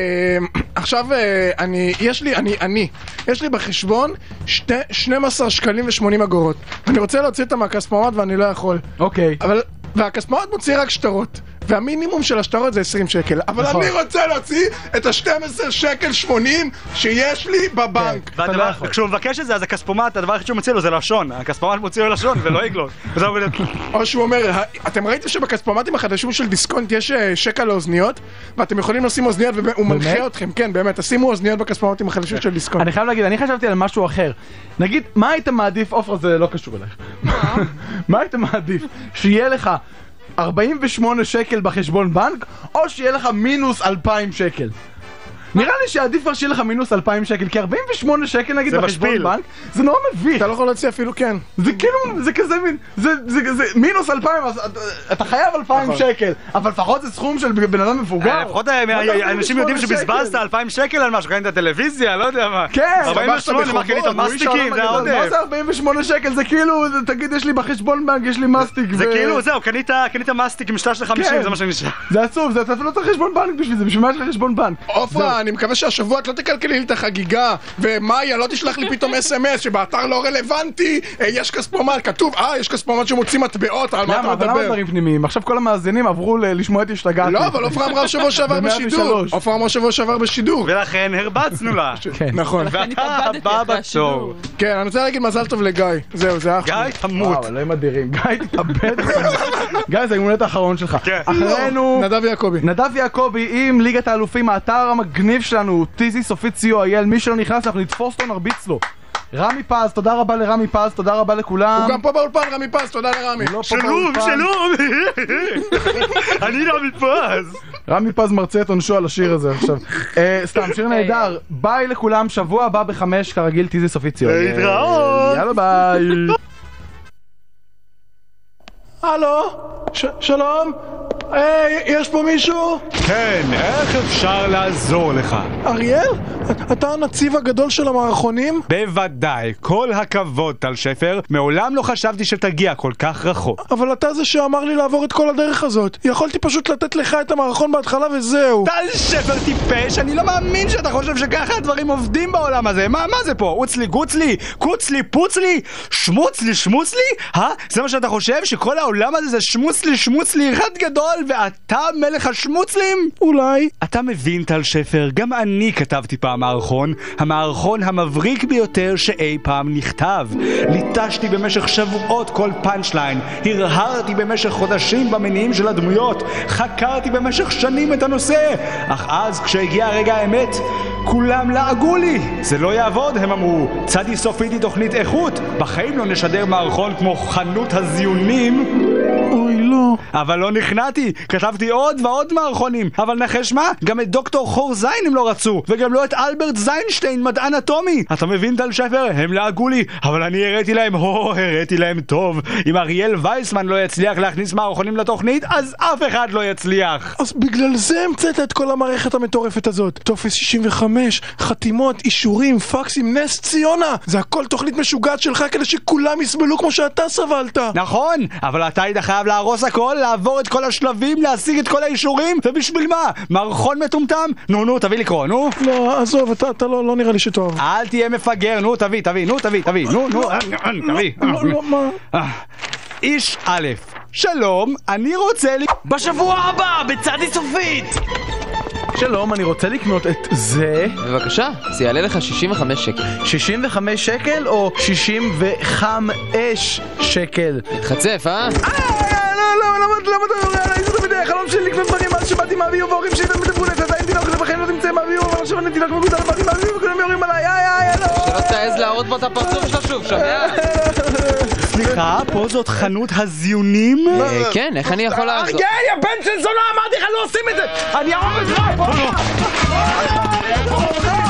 עכשיו אה, אני, יש לי, אני, אני, יש לי בחשבון שתי, 12 שקלים ו-80 אגורות. אני רוצה להוציא אותם מהכספומט ואני לא יכול. אוקיי. אבל, והכספומט מוציא רק שטרות. והמינימום של השטרות זה 20 שקל. אבל נכון. אני רוצה להוציא את ה-12 שקל 80 שיש לי בבנק. כן, והדבר- כשהוא מבקש את זה, אז הכספומט, הדבר היחיד שהוא מוציא לו זה לשון. הכספומט מוציא לו לשון ולא יגלוט. וזה אומר, או שהוא אומר, אה, "ה- אתם ראיתם שבכספומטים החדשים של דיסקונט יש אה, שקע לאוזניות? ואתם יכולים לשים אוזניות והוא מנחה אתכם, כן באמת, תשימו אוזניות בכספומטים החדשים של דיסקונט. אני חייב להגיד, אני חשבתי על משהו אחר. נגיד, מה היית מעדיף, עופרה זה לא קשור אלייך. מה היית מעדיף? שיהיה לך 48 שקל בחשבון בנק, או שיהיה לך מינוס 2,000 שקל? נראה לי שעדיף כבר שיהיה לך מינוס 2,000 שקל, כי 48 שקל נגיד זה בחשבון משפיל. בנק, זה נורא מביך. אתה לא יכול להוציא אפילו כן. זה כאילו, זה כזה מין, זה, זה, זה מינוס 2,000, אז אתה- אתה חייב 2,000 נכון. שקל, אבל לפחות זה סכום של בן אדם מבוגר. אה, לפחות לא, אה, מה זה אנשים 48 יודעים שקל? שבזבזת 2,000 שקל על משהו, קנית טלוויזיה, לא יודע מה. כן, לא, 48 מה קנית מסטיקים, זה מה העודף. זה 48 שקל? זה כאילו, זה- תגיד, יש לי בחשבון בנק, יש לי מסטיק. זה ו- כאילו, זהו, קנית קנית מסטיק עם שטר של כן. 50, זה מה שנשאר. זה עצוב, זה אתה לא צריך חשבון בנק בשביל זה, בשביל מה יש לך חשבון בנק? עופרה, אני מקווה שהשבוע את לא תקלקלי לי את החגיגה, ומאיה לא תשלח לי פתאום אס.אם.אס שבאתר לא רלוונטי, אה, יש כספומט, כתוב, אה, יש כספומט שמוציא מטבעות, על מה למה? אתה אבל למה מדבר? דברים פנימיים? עכשיו כל המאזינים עברו ל- לשמוע את השתגעתי. לא, אבל עופרה אמרה שבוע שעבר ב- 103. בשידור. עופרה אמרה שבוע שעבר בשידור. ולכן הרבצנו לה. נכון. ואתה הבא בתור. כן, אני רוצה להגיד מזל טוב לגיא. זהו, זה אח שלי. גיא, תמות. וואו, אלוהים אדירים. גיא, תתאבד. גיא, זה הגמולת האחרון שלך. כן. אחרינו... לא. לא, נדב יעקבי. נדב יעקבי עם ליגת האלופים, האתר המגניב שלנו, tizi סופית co.il, מי שלא נכנס, אנחנו נתפוס אותו, נרביץ לו. רמי פז, תודה רבה לרמי פז, תודה רבה לכולם. הוא גם פה באולפן, רמי פז, תודה לרמי. לא פה שלום, באולפן. שלום. לא אני רמי פז. רמי פז מרצה את עונשו על השיר הזה עכשיו. אה, סתם, שיר נהדר. ביי לכולם, שבוע הבא בחמש, כרגיל, tizi סופית co.il. להתראות. יאללה ביי. הלו? ש- שלום? היי, יש פה מישהו? כן, איך אפשר לעזור לך? אריאל? אתה הנציב הגדול של המערכונים? בוודאי, כל הכבוד, טל שפר, מעולם לא חשבתי שתגיע כל כך רחוק. אבל אתה זה שאמר לי לעבור את כל הדרך הזאת. יכולתי פשוט לתת לך את המערכון בהתחלה וזהו. טל שפר טיפש, אני לא מאמין שאתה חושב שככה הדברים עובדים בעולם הזה. מה, מה זה פה? אוצלי גוצלי? קוצלי פוצלי? שמוצלי שמוצלי? אה? זה מה שאתה חושב? שכל העולם הזה זה שמוצלי שמוצלי אחד גדול ואתה מלך השמוצלים? אולי. אוקיי? אתה מבין, טל שפר, גם אני כתבתי פעם מערכון, המערכון המבריק ביותר שאי פעם נכתב. ליטשתי במשך שבועות כל פאנצ'ליין, הרהרתי במשך חודשים במניעים של הדמויות, חקרתי במשך שנים את הנושא, אך אז, כשהגיע רגע האמת, כולם לעגו לי! זה לא יעבוד, הם אמרו. צדי סופית היא תוכנית איכות, בחיים לא נשדר מערכון כמו חנות הזיונים. אוי, לא. אבל לא נכנעתי, כתבתי עוד ועוד מערכונים, אבל נחש מה? גם את דוקטור חור זין הם לא רצו, וגם לא את אלברט זיינשטיין, מדען אטומי! אתה מבין, טל שפר? הם לעגו לי, אבל אני הראתי להם, הו, הראתי להם טוב. אם אריאל וייסמן לא יצליח להכניס מערכונים לתוכנית, אז אף אחד לא יצליח. אז בגלל זה המצאת את כל המערכת המטורפת הזאת. טופס 65, חתימות, אישורים, פקסים, נס ציונה! זה הכל תוכנית משוגעת שלך כדי שכולם יסבלו כמו שאתה סבלת! נכון, אבל אתה היית חייב להרוס הכל, לעבור את כל השלבים, להשיג את כל האישורים, ובשביל מה? מערכון מטומטם? נו, נו, תביא לקרוא, נו. לא, עזוב, אתה, אתה לא, לא נראה לי שתאהב. אל תהיה מפגר, נו, תביא, תביא, נו, תביא, תביא, נו, נו, אה, אה, תביא. לא, לא, מה? אה, איש א', שלום, אני רוצה ל... בשבוע הבא, בצדי סופית! שלום, אני רוצה לקנות את זה. בבקשה, זה יעלה לך 65 שקל. 65 שקל או 65 שקל? מתחצף, אה? לא, לא, למה למה אתה מדבר עליי? זה תמיד היה חלום שלי לקנות דברים מאז שבאתי מהביוב וההורים שלי תמיד אמרו לי, אתה עדיין תינוק, אתה בחיים לא תמצא מהביוב, אבל עכשיו אני תינוק מגודל, באתי מהביוב וכולם יורים עליי, איי איי, לא! שלא תעז להראות בו את הפרצוף שלה שוב, שומע? סליחה, פה זאת חנות הזיונים? כן, איך אני יכול אה, לעזור? אריאל, יא לא, בן של זונה, אמרתי לך, לא עושים את זה! אני ארוך בזמן!